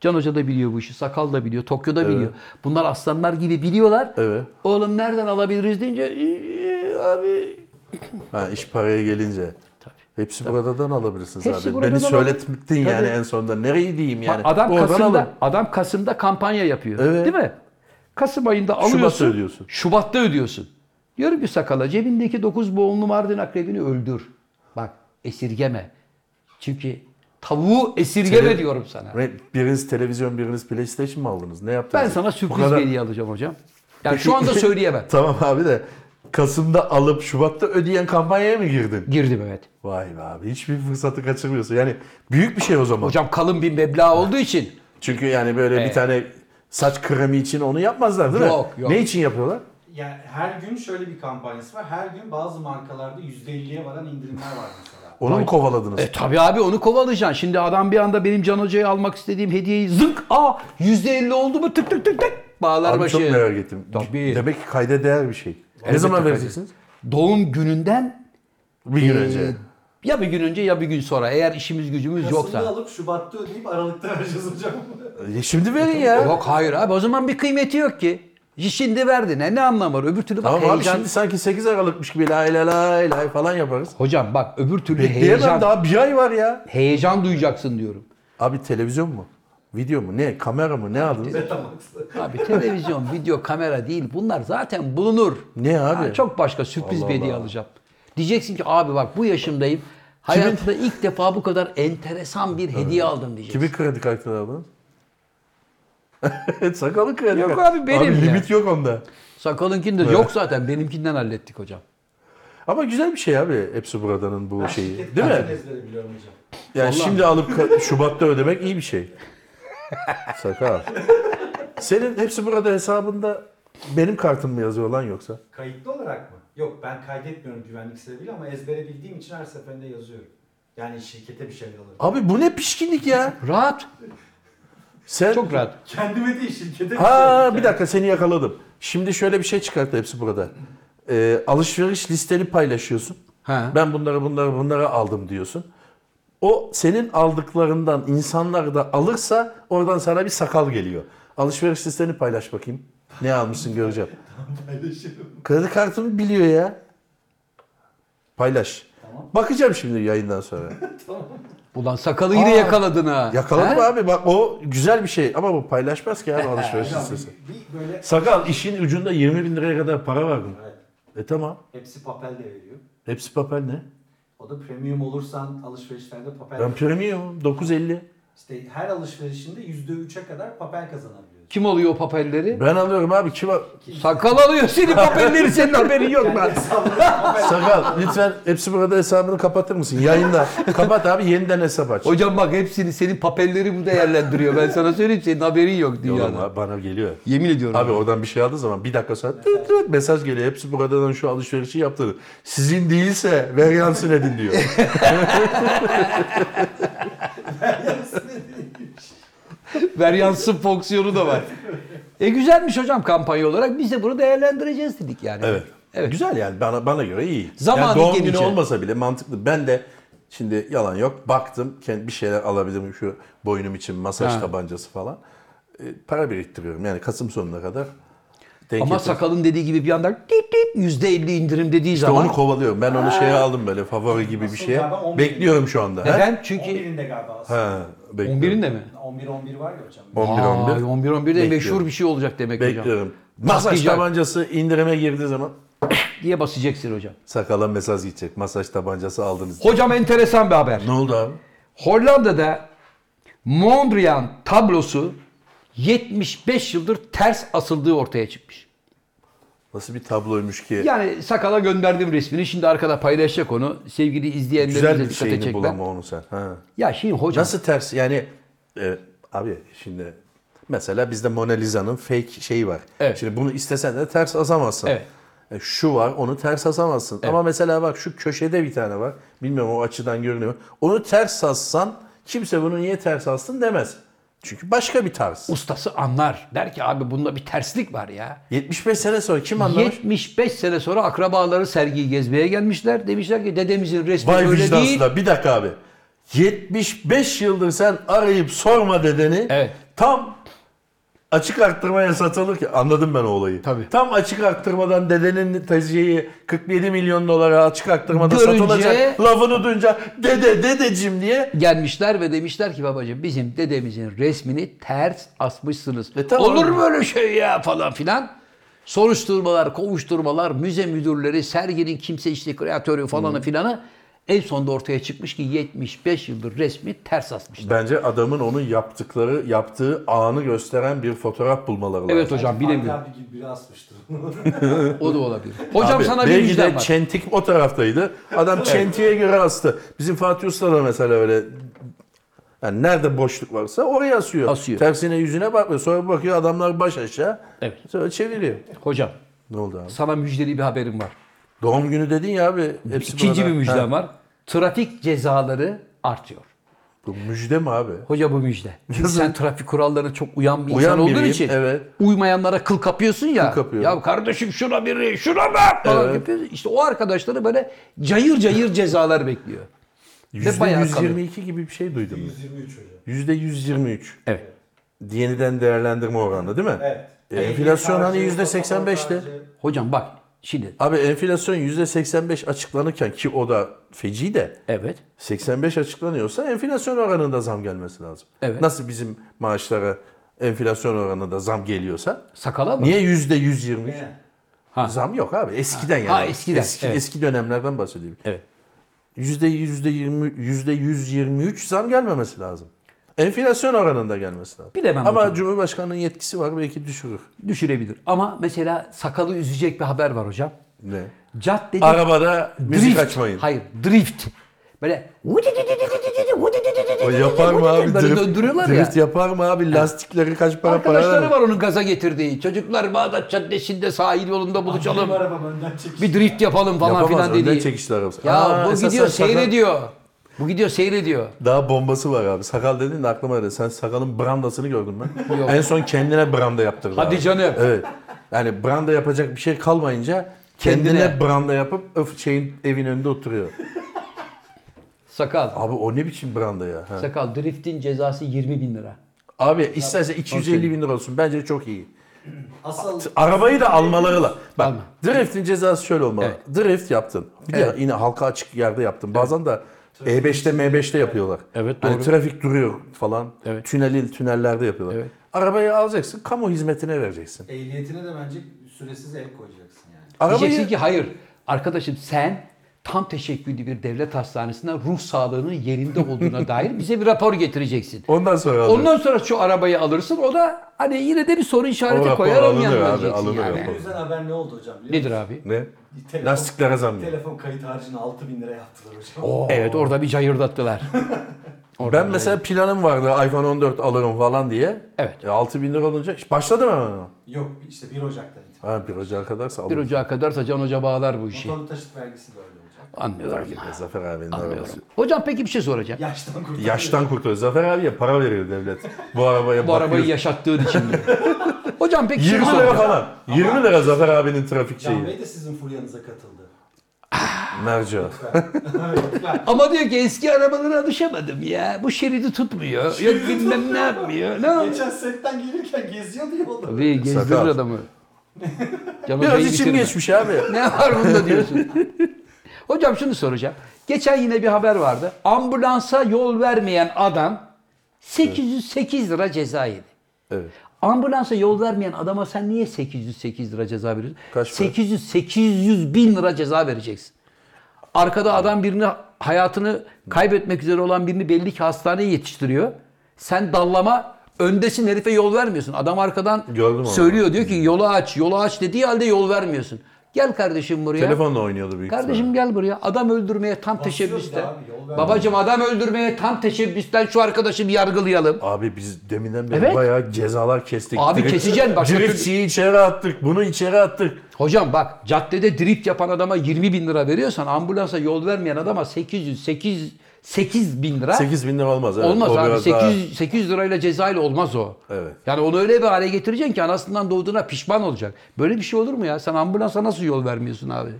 Speaker 2: Can Hoca da biliyor bu işi. Sakal da biliyor. Tokyo da biliyor. Bunlar aslanlar gibi biliyorlar.
Speaker 1: Evet.
Speaker 2: Oğlum nereden alabiliriz deyince "Ee, abi
Speaker 1: Ha, iş paraya gelince. Hepsi buradan alabilirsiniz
Speaker 2: Hepsi
Speaker 1: abi.
Speaker 2: buradan
Speaker 1: Beni
Speaker 2: al-
Speaker 1: söylettin yani
Speaker 2: Tabii.
Speaker 1: en sonunda. Nereyi diyeyim yani?
Speaker 2: Bak adam
Speaker 1: Oradan
Speaker 2: Kasım'da
Speaker 1: alın.
Speaker 2: adam Kasım'da kampanya yapıyor.
Speaker 1: Evet.
Speaker 2: Değil mi? Kasım ayında alıyorsun.
Speaker 1: Şubat'ta ödüyorsun.
Speaker 2: Şubat'ta ödüyorsun. Diyorum ki sakala cebindeki 9 boğumlu Mardin akrebini öldür. Bak esirgeme. Çünkü tavuğu esirgeme
Speaker 1: Tele-
Speaker 2: diyorum sana.
Speaker 1: Re- Biriniz televizyon, biriniz PlayStation mı aldınız? Ne yaptınız?
Speaker 2: Ben sana
Speaker 1: O
Speaker 2: sürpriz
Speaker 1: kadar-
Speaker 2: bir hediye alacağım hocam. Yani şu anda söyleyemem.
Speaker 1: tamam abi de Kasım'da alıp Şubat'ta ödeyen kampanyaya mı girdin?
Speaker 2: Girdim evet.
Speaker 1: Vay be abi hiçbir fırsatı kaçırmıyorsun. Yani büyük bir şey o zaman.
Speaker 2: Hocam kalın bir meblağ olduğu için
Speaker 1: Çünkü yani böyle bir
Speaker 2: Evet.
Speaker 1: tane saç kremi için onu yapmazlar değil
Speaker 2: Yok,
Speaker 1: mi?
Speaker 2: yok.
Speaker 1: Ne için yapıyorlar?
Speaker 3: Yani her gün şöyle bir kampanyası var. Her gün bazı markalarda %50'ye varan indirimler var mesela.
Speaker 1: Onu mu kovaladınız?
Speaker 2: E tabi abi onu kovalayacaksın. Şimdi adam bir anda benim Can Hoca'ya almak istediğim hediyeyi zınk aa %50 oldu mu tık tık tık tık bağlar
Speaker 1: Abi
Speaker 2: başı.
Speaker 1: çok merak ettim.
Speaker 2: Tabii.
Speaker 1: Demek ki kayda değer bir şey. ne
Speaker 2: Elbette
Speaker 1: zaman
Speaker 2: kayda-
Speaker 1: vereceksiniz?
Speaker 2: Doğum gününden
Speaker 1: Bir gün
Speaker 2: e,
Speaker 1: önce.
Speaker 2: ya bir gün önce ya bir gün sonra eğer işimiz gücümüz
Speaker 3: Kasım'da
Speaker 2: yoksa.
Speaker 3: alıp Şubat'ta ödeyip Aralık'ta vereceğiz hocam.
Speaker 1: E, şimdi verin ya.
Speaker 2: Yok hayır abi o zaman bir kıymeti yok ki. Şimdi verdin ne, ne anlamı var öbür türlü bak
Speaker 1: Tamam abi
Speaker 2: heyecan.
Speaker 1: şimdi sanki 8 Aralık'mış gibi lay lay lay lay falan yaparız.
Speaker 2: Hocam bak öbür türlü
Speaker 1: Diyemem
Speaker 2: heyecan,
Speaker 1: daha bir ay var ya.
Speaker 2: heyecan duyacaksın diyorum.
Speaker 1: Abi televizyon mu? Video mu? Ne? Kamera mı? Ne aldınız?
Speaker 3: Betamax'lı.
Speaker 2: Abi televizyon, video, kamera değil bunlar zaten bulunur.
Speaker 1: Ne abi?
Speaker 2: Ha, çok başka sürpriz
Speaker 1: Allah
Speaker 2: bir hediye
Speaker 1: Allah.
Speaker 2: alacağım. Diyeceksin ki abi bak bu yaşımdayım. Hayatımda ilk defa bu kadar enteresan bir hediye aldım diyeceksin.
Speaker 1: Kimin kredi kartını aldın? Sakalı kredi
Speaker 2: Yok
Speaker 1: kartı.
Speaker 2: abi, benim
Speaker 1: Abi
Speaker 2: ya.
Speaker 1: limit yok onda.
Speaker 2: Sakalınkin de yok zaten benimkinden hallettik hocam.
Speaker 1: Ama güzel bir şey abi hepsi buradanın bu şeyi.
Speaker 3: Şirket
Speaker 1: Değil mi?
Speaker 3: kartı ezbere biliyorum hocam.
Speaker 1: Yani şimdi alıp ka- Şubat'ta ödemek iyi bir şey. Sakal. Senin hepsi burada hesabında benim kartım mı yazıyor lan yoksa?
Speaker 3: Kayıtlı olarak mı? Yok ben kaydetmiyorum güvenlik sebebiyle ama ezbere bildiğim için her seferinde yazıyorum. Yani şirkete bir şeyler alırım.
Speaker 1: Abi bu ne pişkinlik ya?
Speaker 2: Rahat.
Speaker 1: Sen
Speaker 2: Çok rahat.
Speaker 3: Kendime değil şirkete bir şey
Speaker 1: Ha
Speaker 3: alırım.
Speaker 1: bir dakika seni yakaladım. Şimdi şöyle bir şey çıkarttı hepsi burada. Ee, alışveriş listeni paylaşıyorsun.
Speaker 2: Ha.
Speaker 1: Ben bunları bunları bunları aldım diyorsun. O senin aldıklarından insanlar da alırsa oradan sana bir sakal geliyor. Alışveriş listeni paylaş bakayım. Ne almışsın göreceğim.
Speaker 3: Paylaşırım.
Speaker 1: Kredi kartımı biliyor ya. Paylaş.
Speaker 3: Tamam.
Speaker 1: Bakacağım şimdi yayından sonra.
Speaker 2: Ulan sakalı yine
Speaker 1: Aa,
Speaker 2: yakaladın ha.
Speaker 1: Yakaladım
Speaker 2: He?
Speaker 1: abi bak o güzel bir şey ama bu paylaşmaz ki abi alışveriş
Speaker 3: Hocam
Speaker 1: listesi.
Speaker 3: bir, bir böyle
Speaker 1: Sakal işin ucunda 20 bin liraya kadar para var mı?
Speaker 3: evet,
Speaker 1: E tamam.
Speaker 3: hepsi papel de veriyor.
Speaker 1: Hepsi papel ne?
Speaker 3: O da premium olursan alışverişlerde papel
Speaker 1: Ben premium 9.50.
Speaker 3: İşte her alışverişinde %3'e kadar papel kazanabiliyorsun.
Speaker 2: Kim alıyor o papelleri?
Speaker 1: Ben alıyorum abi kim al-
Speaker 2: Sakal alıyor senin papelleri senin haberin yok lan.
Speaker 1: Sakal lütfen hepsi burada hesabını kapatır mısın? Yayında. Kapat abi yeniden hesap aç.
Speaker 2: Hocam bak hepsini senin papelleri bu değerlendiriyor. Ben sana söyleyeyim senin haberin yok
Speaker 1: Oğlum,
Speaker 2: dünyada.
Speaker 1: abi bana geliyor.
Speaker 2: Yemin ediyorum.
Speaker 1: Abi oradan bir şey aldığı zaman bir dakika sonra tıt tıt mesaj geliyor. Hepsi buradan şu alışverişi yaptı. Sizin değilse veryansın edin diyor.
Speaker 2: Veryansın fonksiyonu da var. e güzelmiş hocam kampanya olarak. Biz de bunu değerlendireceğiz dedik yani.
Speaker 1: Evet.
Speaker 2: Evet.
Speaker 1: Güzel yani bana bana göre iyi.
Speaker 2: Zamanı
Speaker 1: yani doğum günü
Speaker 2: gelince.
Speaker 1: olmasa bile mantıklı. Ben de şimdi yalan yok baktım kendi bir şeyler alabilirim şu boynum için masaj
Speaker 2: Ha.
Speaker 1: tabancası falan. E, para biriktiriyorum yani Kasım sonuna kadar. Denk
Speaker 2: Ama
Speaker 1: getirdim.
Speaker 2: sakalın dediği gibi bir anda tip tip yüzde elli indirim dediği
Speaker 1: İşte
Speaker 2: zaman.
Speaker 1: onu kovalıyorum. Ben onu şeye aldım böyle favori gibi bir
Speaker 3: Aslında
Speaker 1: şeye.
Speaker 3: galiba 11.
Speaker 1: Bekliyorum şu anda. he?
Speaker 2: Neden? Çünkü
Speaker 3: 11'inde galiba aslında.
Speaker 1: Ha, bekliyorum.
Speaker 2: 11'inde mi?
Speaker 3: 11-11 var ya hocam.
Speaker 1: 11
Speaker 2: Aa,
Speaker 1: 11.
Speaker 2: 11 11 de meşhur
Speaker 1: Bekliyorum.
Speaker 2: bir şey olacak demek hocam.
Speaker 1: Bekliyorum. Masaj
Speaker 2: Patlayacak.
Speaker 1: tabancası indirime girdiği zaman
Speaker 2: Diye basacaksın hocam.
Speaker 1: sakala mesaj gidecek. Masaj tabancası aldınız.
Speaker 2: Hocam enteresan bir haber.
Speaker 1: Ne oldu abi?
Speaker 2: Hollanda'da Mondrian tablosu 75 yıldır ters asıldığı ortaya çıkmış.
Speaker 1: Nasıl bir tabloymuş ki?
Speaker 2: Yani sakala gönderdim resmini. Şimdi arkada paylaşacak onu. Sevgili izleyenlerimize
Speaker 1: Güzel bir
Speaker 2: dikkat
Speaker 1: şeyini
Speaker 2: edecekler.
Speaker 1: bulama onu sen. Ha.
Speaker 2: Ya şimdi hocam.
Speaker 1: Nasıl ters yani e, abi şimdi mesela bizde Mona Lisa'nın fake şeyi var.
Speaker 2: Evet.
Speaker 1: Şimdi bunu istesen de ters asamazsın.
Speaker 2: Evet.
Speaker 1: E, Şu var onu ters asamazsın. Ama mesela bak şu köşede bir tane var. Bilmiyorum o açıdan görünüyor. mu? Onu ters assan kimse bunu niye ters astın demez. Çünkü başka bir tarz.
Speaker 2: ustası anlar. Der ki abi bunda bir terslik var ya.
Speaker 1: 75 sene sonra kim anlamış?
Speaker 2: 75 sene sonra akrabaları sergiyi gezmeye gelmişler. Demişler ki dedemizin resmi
Speaker 1: Vay
Speaker 2: öyle değil.
Speaker 1: vicdansızlar. Bir dakika abi. 75 yıldır sen arayıp sorma dedeni
Speaker 2: Evet.
Speaker 1: tam açık arttırmaya satılırken anladım ben o olayı.
Speaker 2: Tabii.
Speaker 1: Tam açık arttırmadan dedenin tezciyi 47 milyon dolara açık arttırmada
Speaker 2: Görünce-
Speaker 1: satılacak lafını duyunca dede dedecim diye
Speaker 2: Gelmişler ve demişler ki babacığım bizim dedemizin resmini ters asmışsınız.
Speaker 1: E tamam.
Speaker 2: Olur mu öyle şey ya falan filan. Soruşturmalar, kovuşturmalar, müze müdürleri, serginin kimse işte kreatörü falanı filanı en sonunda ortaya çıkmış ki 75 yıldır resmi ters asmışlar.
Speaker 1: Bence adamın onun yaptıkları, yaptığı anı gösteren bir fotoğraf bulmaları lazım.
Speaker 2: Evet hocam bilemiyorum.
Speaker 3: Fantabi gibi biri asmıştır.
Speaker 2: O da olabilir. Hocam
Speaker 1: Abi,
Speaker 2: sana bir
Speaker 1: belki
Speaker 2: müjdem
Speaker 1: de
Speaker 2: var.
Speaker 1: çentik o taraftaydı. Adam çentiye göre astı. Bizim Fatih Usta da mesela öyle yani nerede boşluk varsa oraya asıyor.
Speaker 2: Asıyor.
Speaker 1: Tersine yüzüne bakmıyor. Sonra bakıyor adamlar baş aşağı.
Speaker 2: Evet.
Speaker 1: Sonra çeviriyor.
Speaker 2: Hocam
Speaker 1: Ne oldu abi?
Speaker 2: sana müjdeli bir haberim var.
Speaker 1: Doğum günü dedin ya abi. Hepsi
Speaker 2: İkinci bir
Speaker 1: burada. Ha,
Speaker 2: müjdem var. Trafik cezaları artıyor.
Speaker 1: Bu müjde mi abi?
Speaker 2: Hoca bu müjde. Çünkü sen trafik kurallarına çok uyan bir
Speaker 1: Uyan
Speaker 2: insan olduğun
Speaker 1: biriyim,
Speaker 2: için
Speaker 1: evet.
Speaker 2: uymayanlara kıl kapıyorsun ya.
Speaker 1: Kıl kapıyorum.
Speaker 2: Ya kardeşim şuna biri, şuna bak falan
Speaker 1: Evet.
Speaker 2: yapıyorsun. İşte o arkadaşları böyle cayır cayır cezalar bekliyor.
Speaker 1: Yüzde
Speaker 2: bayağı
Speaker 1: 122 gibi bir şey duydum. ben.
Speaker 3: 123 hocam.
Speaker 1: Yüzde 123.
Speaker 2: Evet.
Speaker 1: Yeniden değerlendirme oranı değil mi?
Speaker 3: Evet.
Speaker 1: E, enflasyon hani yüzde 85'ti.
Speaker 2: Hocam bak şimdi
Speaker 1: Abi enflasyon yüzde 85 açıklanırken ki o da feci de
Speaker 2: evet
Speaker 1: 85 açıklanıyorsa enflasyon oranında zam gelmesi lazım.
Speaker 2: Evet.
Speaker 1: Nasıl bizim maaşlara enflasyon oranında zam geliyorsa
Speaker 2: sakala mı?
Speaker 1: niye yüzde 123?
Speaker 3: Yine.
Speaker 2: Ha.
Speaker 1: Zam yok abi eskiden yani.
Speaker 2: Ha, eskiden,
Speaker 1: Eski,
Speaker 2: evet.
Speaker 1: eski dönemlerden bahsediyorum.
Speaker 2: Evet.
Speaker 1: Yüzde yüzde 20 yüzde 123 zam gelmemesi lazım. Enflasyon oranında gelmesi lazım.
Speaker 2: Bilemem
Speaker 1: Ama
Speaker 2: hocam.
Speaker 1: Cumhurbaşkanı'nın yetkisi var belki düşürür.
Speaker 2: Düşürebilir. Ama mesela sakalı üzecek bir haber var hocam.
Speaker 1: Ne?
Speaker 2: Caddede
Speaker 1: Arabada müzik
Speaker 2: drift.
Speaker 1: açmayın.
Speaker 2: Hayır drift. Böyle
Speaker 1: O yapar mı abi?
Speaker 2: Böyle
Speaker 1: Drift,
Speaker 2: döndürüyorlar ya.
Speaker 1: drift yapar mı abi? Lastikleri kaç para para
Speaker 2: Arkadaşları
Speaker 1: ver?
Speaker 2: var onun gaza getirdiği. Çocuklar Bağdat Caddesi'nde sahil yolunda buluşalım.
Speaker 3: Benim arabam önden çekişti.
Speaker 2: Bir drift yapalım falan
Speaker 1: Yapamaz,
Speaker 2: filan
Speaker 1: önden
Speaker 2: dediği.
Speaker 1: çekişti arabası.
Speaker 2: Ya
Speaker 1: Aa,
Speaker 2: bu
Speaker 1: esasen
Speaker 2: gidiyor
Speaker 1: sakal-
Speaker 2: seyrediyor. Bu gidiyor seyrediyor.
Speaker 1: Daha bombası var abi. Sakal dedin de aklıma geldi. Sen sakalın brandasını gördün mü?
Speaker 2: Yok.
Speaker 1: en son kendine branda yaptırdı
Speaker 2: Hadi
Speaker 1: abi.
Speaker 2: canım.
Speaker 1: Evet. Yani branda yapacak bir şey kalmayınca kendine,
Speaker 2: Kendine.
Speaker 1: branda yapıp öf şeyin evin önünde oturuyor.
Speaker 2: Sakal.
Speaker 1: Abi o ne biçim branda ya? Ha.
Speaker 2: Sakal driftin cezası 20 bin lira.
Speaker 1: Abi isterse 250 bin lira olsun. Bence çok iyi.
Speaker 3: Asıl
Speaker 1: Arabayı da almaları la. Bak
Speaker 2: Alma.
Speaker 1: driftin cezası şöyle olmalı.
Speaker 2: Evet.
Speaker 1: Drift yaptın. Bir de yine halka açık yerde yaptın. Bazen de E E5'te M5'te yapıyorlar.
Speaker 2: Evet,
Speaker 1: Hani
Speaker 2: doğru.
Speaker 1: trafik duruyor falan.
Speaker 2: Evet.
Speaker 1: Tünelin tünellerde yapıyorlar.
Speaker 2: Evet.
Speaker 1: Arabayı alacaksın, kamu hizmetine vereceksin.
Speaker 3: ehliyetine de bence süresiz el koyacaksın yani.
Speaker 1: Arabayı
Speaker 2: Diyeceksin ki hayır. Arkadaşım sen tam teşekküllü bir devlet hastanesine ruh sağlığının yerinde olduğuna dair bize bir rapor getireceksin.
Speaker 1: ondan sonra alacaksın.
Speaker 2: Ondan sonra şu arabayı alırsın. O da hani yine de bir soru
Speaker 1: O
Speaker 2: işareti
Speaker 1: rapor
Speaker 2: koyar onun
Speaker 1: alınır
Speaker 2: yanına
Speaker 1: abi,
Speaker 2: diyeceksin
Speaker 1: alınır
Speaker 2: yani.
Speaker 1: rapor.
Speaker 3: Bu yüzden haber ne oldu hocam biliyor
Speaker 2: Nedir
Speaker 3: musun?
Speaker 2: abi?
Speaker 1: Ne?
Speaker 3: Telefon-
Speaker 1: Lastiklere zam geldi.
Speaker 3: Telefon kayıt harcını 6000 bin lira yaptılar hocam.
Speaker 2: Evet orada bir cayırdattılar.
Speaker 1: Ben mesela planım vardı iPhone 14 alırım falan diye.
Speaker 2: Evet.
Speaker 1: E, 6 bin lira olunca İşte başladım hemen. ona.
Speaker 3: Yok işte 1 Ocak'tan itibaren.
Speaker 1: Ha, bir ocağa kadarsa
Speaker 2: 1
Speaker 1: alırım.
Speaker 2: Ocağı kadarsa Can Hoca bağlar bu
Speaker 1: şey.
Speaker 2: işi.
Speaker 3: Motorlu taşıt vergisi de öyle olacak.
Speaker 2: Anlıyorlar ki.
Speaker 1: E, Zafer abinin arabası.
Speaker 2: Hocam peki bir şey soracağım.
Speaker 3: Yaştan kurtarıyor.
Speaker 1: Yaştan kurtarıyor. Zafer abiye para veriyor devlet. Bu arabaya
Speaker 2: Bu
Speaker 1: bakıyor.
Speaker 2: arabayı yaşattığın için. mi? Hocam peki bir şey
Speaker 1: 20 lira
Speaker 2: soracağım.
Speaker 1: falan. 20 lira Zafer abinin trafik
Speaker 3: Can
Speaker 1: şeyi.
Speaker 3: Bey de sizin fulyanıza katıldı.
Speaker 1: Merca.
Speaker 3: Lütfen.
Speaker 2: Ama diyor ki eski arabalara alışamadım ya. Bu şeridi tutmuyor. Yok bilmem ne yapmıyor. Ne yapıyor?
Speaker 3: Geçen setten gelirken geziyordu yolda.
Speaker 2: Tabii gezdirir
Speaker 1: Sakal.
Speaker 2: adamı. Can
Speaker 1: Biraz
Speaker 2: Hoca'yı
Speaker 1: içim
Speaker 2: bitirme.
Speaker 1: geçmiş abi.
Speaker 2: Ne var bunda diyorsun. Hocam şunu soracağım. Geçen yine bir haber vardı. Ambulansa yol vermeyen adam 808 lira ceza yedi.
Speaker 1: Evet.
Speaker 2: Ambulansa yol vermeyen adama sen niye 808 lira ceza veriyorsun?
Speaker 1: Kaç para?
Speaker 2: 800 800 bin lira ceza vereceksin. Arkada adam birini hayatını kaybetmek üzere olan birini belli ki hastaneye yetiştiriyor. Sen dallama öndesin herife yol vermiyorsun. Adam arkadan
Speaker 1: Gördüm onu.
Speaker 2: söylüyor diyor ki yolu aç, yolu aç dediği halde yol vermiyorsun. Gel kardeşim buraya.
Speaker 1: Telefonla oynuyordu büyük
Speaker 2: Kardeşim gel buraya. Adam öldürmeye tam
Speaker 3: Basıyordu
Speaker 2: teşebbüsten.
Speaker 3: abi, yol vermiyor.
Speaker 2: Babacım adam öldürmeye tam teşebbüsten şu arkadaşı bir yargılayalım.
Speaker 1: ihtimalle. Abi biz deminden beri
Speaker 2: Evet.
Speaker 1: bayağı cezalar kestik.
Speaker 2: Abi keseceksin bak.
Speaker 1: Driftçiyi içeri attık. Bunu içeri attık.
Speaker 2: Hocam bak caddede drift yapan adama 20 bin lira veriyorsan ambulansa yol vermeyen adama 800, 8, 8 bin lira
Speaker 1: 8 bin lira olmaz. Evet.
Speaker 2: olmaz
Speaker 1: O
Speaker 2: abi.
Speaker 1: biraz daha-
Speaker 2: 800, 800 lirayla cezayla olmaz o.
Speaker 1: Evet.
Speaker 2: Yani onu öyle bir hale getireceksin ki anasından doğduğuna pişman olacak. Böyle bir şey olur mu ya? Sen ambulansa nasıl yol vermiyorsun abi?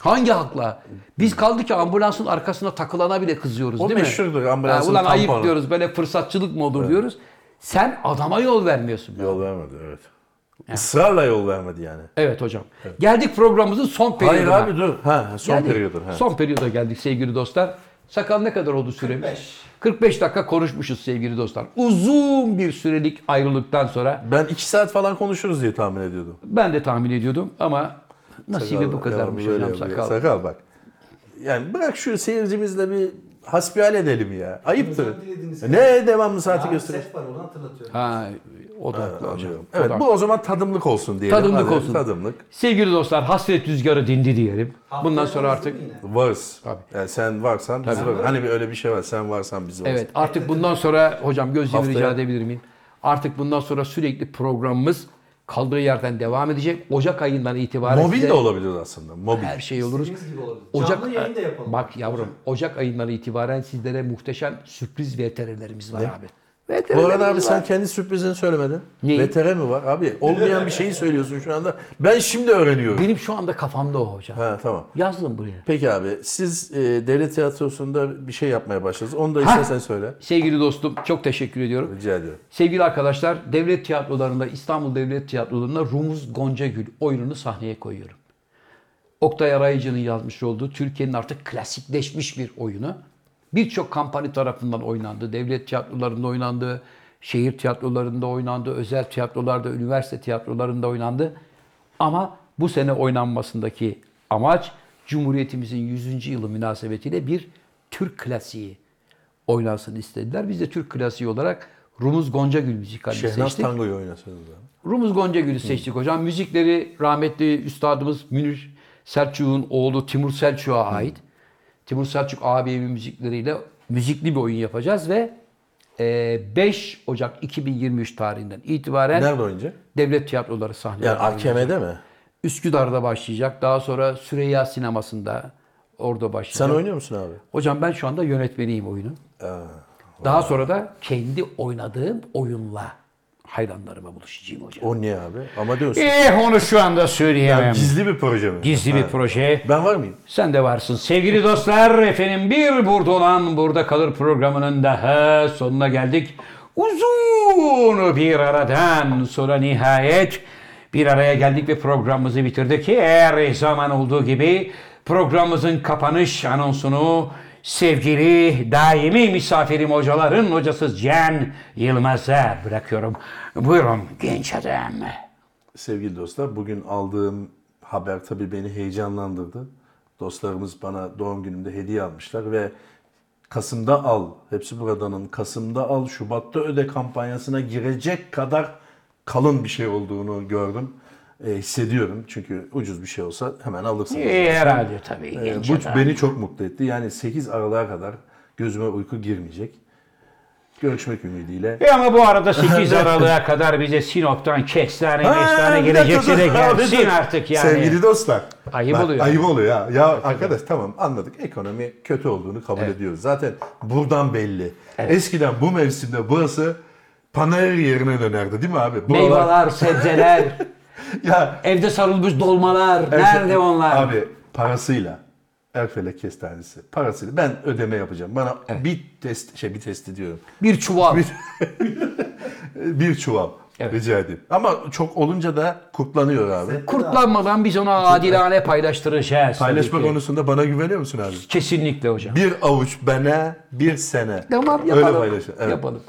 Speaker 2: Hangi hakla? Biz kaldı ki ambulansın arkasına takılana bile kızıyoruz
Speaker 1: O
Speaker 2: değil mi?
Speaker 1: meşhurdur, ambulansın
Speaker 2: ulan ayıp
Speaker 1: tamponu.
Speaker 2: diyoruz böyle fırsatçılık mı olur diyoruz. Sen adama yol vermiyorsun.
Speaker 1: Yol vermedi evet. Israrla yol vermedi yani.
Speaker 2: Evet hocam. Geldik programımızın son
Speaker 1: Hayır
Speaker 2: periyoduna.
Speaker 1: abi dur. Ha son
Speaker 2: Yani
Speaker 1: periyodur. Ha.
Speaker 2: Son periyoda geldik sevgili dostlar. Sakal ne kadar oldu süremiz?
Speaker 3: 45.
Speaker 2: 45 dakika konuşmuşuz sevgili dostlar. Uzun bir sürelik ayrılıktan sonra
Speaker 1: Ben iki saat falan konuşuruz diye tahmin ediyordum.
Speaker 2: ben de tahmin ediyordum ama nasibi bu kadarmış
Speaker 1: Devamlı böyle
Speaker 2: hocam
Speaker 1: yapıyor.
Speaker 2: sakal.
Speaker 1: Sakal bak. Yani bırak şu seyircimizle bir hasbihal edelim ya. Ayıptır.
Speaker 3: Özür dilediğiniz
Speaker 1: Ne devamlı saati
Speaker 3: Yarın
Speaker 1: gösterir.
Speaker 3: set var onu hatırlatıyorum.
Speaker 2: Ha, odaklı hocam.
Speaker 1: Evet
Speaker 2: Odaklı.
Speaker 1: bu o zaman tadımlık olsun diyelim.
Speaker 2: Tadımlık
Speaker 1: Hadi,
Speaker 2: olsun.
Speaker 1: Tadımlık.
Speaker 2: Sevgili dostlar hasret rüzgarı dindi diyelim.
Speaker 3: Haftaya
Speaker 2: Bundan sonra
Speaker 3: konuşuruz
Speaker 2: artık
Speaker 3: yine.
Speaker 1: Varız.
Speaker 2: Tabii.
Speaker 1: Yani sen varsan biz varız. Hani bir öyle bir şey var. Sen varsan biz varız.
Speaker 2: Evet artık bundan sonra hocam gözlemi
Speaker 1: Haftaya-
Speaker 2: rica edebilir miyim? Artık bundan sonra sürekli programımız kaldığı yerden devam edecek. Ocak ayından itibaren
Speaker 1: Mobil
Speaker 2: size
Speaker 1: de olabilir aslında. Mobil.
Speaker 2: her şey oluruz.
Speaker 3: İstediğimiz gibi olabilir.
Speaker 2: Ocak-
Speaker 3: Canlı yayın da yapalım.
Speaker 2: Bak yavrum Ocak ayından itibaren sizlere muhteşem sürpriz VTR'lerimiz var abi.
Speaker 1: Bu
Speaker 2: VTR'lerimiz
Speaker 1: arada abi
Speaker 2: var.
Speaker 1: sen kendi sürprizini söylemedin.
Speaker 2: Neyi?
Speaker 1: VTR mi var? Abi olmayan bir şeyi söylüyorsun şu anda. Ben şimdi öğreniyorum.
Speaker 2: Benim şu anda kafamda o hocam.
Speaker 1: Ha tamam.
Speaker 2: Yazdım buraya.
Speaker 1: Peki abi siz e, devlet tiyatrosunda bir şey yapmaya başladınız. Onu da
Speaker 2: Ha!
Speaker 1: istersen söyle.
Speaker 2: Sevgili dostum çok teşekkür ediyorum.
Speaker 1: Rica ediyorum.
Speaker 2: Sevgili arkadaşlar, devlet tiyatrolarında, İstanbul Devlet Tiyatrolarında Rumuz Goncagül oyununu sahneye koyuyorum. Oktay Arayıcı'nın yazmış olduğu Türkiye'nin artık klasikleşmiş bir oyunu. Birçok kampanya tarafından oynandı. Devlet tiyatrolarında oynandı, şehir tiyatrolarında oynandı, özel tiyatrolarda, üniversite tiyatrolarında oynandı. Ama bu sene oynanmasındaki amaç Cumhuriyetimizin 100. yılı münasebetiyle bir Türk klasiği oynansın istediler. Biz de Türk klasiği olarak Rumuz Goncagül müzikalini
Speaker 1: Şehnaz
Speaker 2: seçtik.
Speaker 1: Tango'yu oynasınız abi.
Speaker 2: Rumuz Goncagül'ü seçtik hocam. Müzikleri rahmetli üstadımız Münir Selçuk'un oğlu Timur Selçuk'a ait. Timur Selçuk ağabeyimin müzikleriyle müzikli bir oyun yapacağız ve e, 5 Ocak 2023 tarihinden itibaren
Speaker 1: Nerede oynayacak?
Speaker 2: devlet tiyatroları sahneye
Speaker 1: Yani
Speaker 2: alınacak.
Speaker 1: AKM'de mi?
Speaker 2: Üsküdar'da başlayacak. Daha sonra Süreyya sinemasında orada başlayacak.
Speaker 1: Sen oynuyor musun abi?
Speaker 2: Hocam ben şu anda yönetmeniyim oyunun. Daha sonra da kendi oynadığım oyunla hayranlarıma buluşacağım hocam.
Speaker 1: O niye abi? Ama diyorsun.
Speaker 4: Eh onu şu anda söyleyemem. Şey,
Speaker 1: Gizli bir proje mi?
Speaker 4: Gizli bir
Speaker 1: Ha.
Speaker 4: proje.
Speaker 1: Ben var mıyım?
Speaker 4: Sen de varsın. Sevgili dostlar efendim bir burada olan burada kalır programının daha sonuna geldik. Uzun bir aradan sonra nihayet bir araya geldik ve programımızı bitirdik. Her zaman olduğu gibi programımızın kapanış anonsunu sevgili daimi misafirim hocaların hocası Cem Yılmaz'a bırakıyorum. Buyurun genç adam.
Speaker 1: Sevgili dostlar bugün aldığım haber tabii beni heyecanlandırdı. Dostlarımız bana doğum günümde hediye almışlar ve Kasım'da al, hepsi buradanın Kasım'da al, Şubat'ta öde kampanyasına girecek kadar kalın bir şey olduğunu gördüm. E, hissediyorum çünkü ucuz bir şey olsa hemen alırsınız.
Speaker 4: Eh, herhalde tabii
Speaker 1: Ee,
Speaker 4: genç
Speaker 1: bu
Speaker 4: adam.
Speaker 1: beni çok mutlu etti. Yani 8 Aralık'a kadar gözüme uyku girmeyecek. Görüşmek ümidiyle.
Speaker 4: E ama bu arada 8 Aralık'a kadar bize Sinop'tan kestane mestane
Speaker 1: bir dakika
Speaker 4: gelecekse de
Speaker 1: dur. Abi
Speaker 4: gelsin
Speaker 1: dur.
Speaker 4: artık yani.
Speaker 1: Sevgili dostlar.
Speaker 4: Ayıp
Speaker 1: bak,
Speaker 4: oluyor.
Speaker 1: Ayıp oluyor ya. Ya arkadaş tamam anladık. Ekonomi kötü olduğunu kabul ediyoruz. Zaten buradan belli. Eskiden bu mevsimde burası panayır yerine dönerdi değil mi abi? Buralar-
Speaker 4: Meyveler, sebzeler,
Speaker 1: Ya
Speaker 4: evde sarılmış dolmalar. Nerede onlar?
Speaker 1: Abi parasıyla. Erfelek kestanesi. Parasıyla. Ben ödeme yapacağım. Bana bir test şey bir test diyorum. Ee,
Speaker 2: Bir çuval.
Speaker 1: Bir çuval. Rica edeyim. Ama çok olunca da kurtlanıyor abi.
Speaker 2: Kurtlanmadan biz ona adilane paylaştıracağız.
Speaker 1: Paylaşma
Speaker 2: tabii ki.
Speaker 1: konusunda bana güveniyor musun abi?
Speaker 4: Kesinlikle hocam.
Speaker 1: Bir avuç bana bir sene.
Speaker 2: Tamam
Speaker 1: Öyle
Speaker 2: yapalım.
Speaker 1: paylaşın. Evet.
Speaker 2: Yapalım.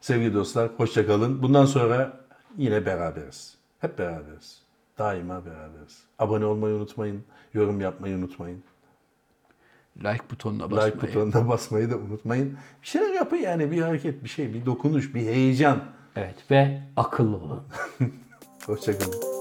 Speaker 1: Sevgili dostlar hoşça kalın. Bundan sonra yine beraberiz. Hep beraberiz. Daima beraberiz. Abone olmayı unutmayın. Yorum yapmayı unutmayın.
Speaker 2: Like butonuna basmayı.
Speaker 1: Like butonuna basmayı da unutmayın. Bir şeyler yapın yani bir hareket, bir şey, bir dokunuş, bir heyecan.
Speaker 4: Evet ve akıllı olun.
Speaker 1: Hoşça kalın.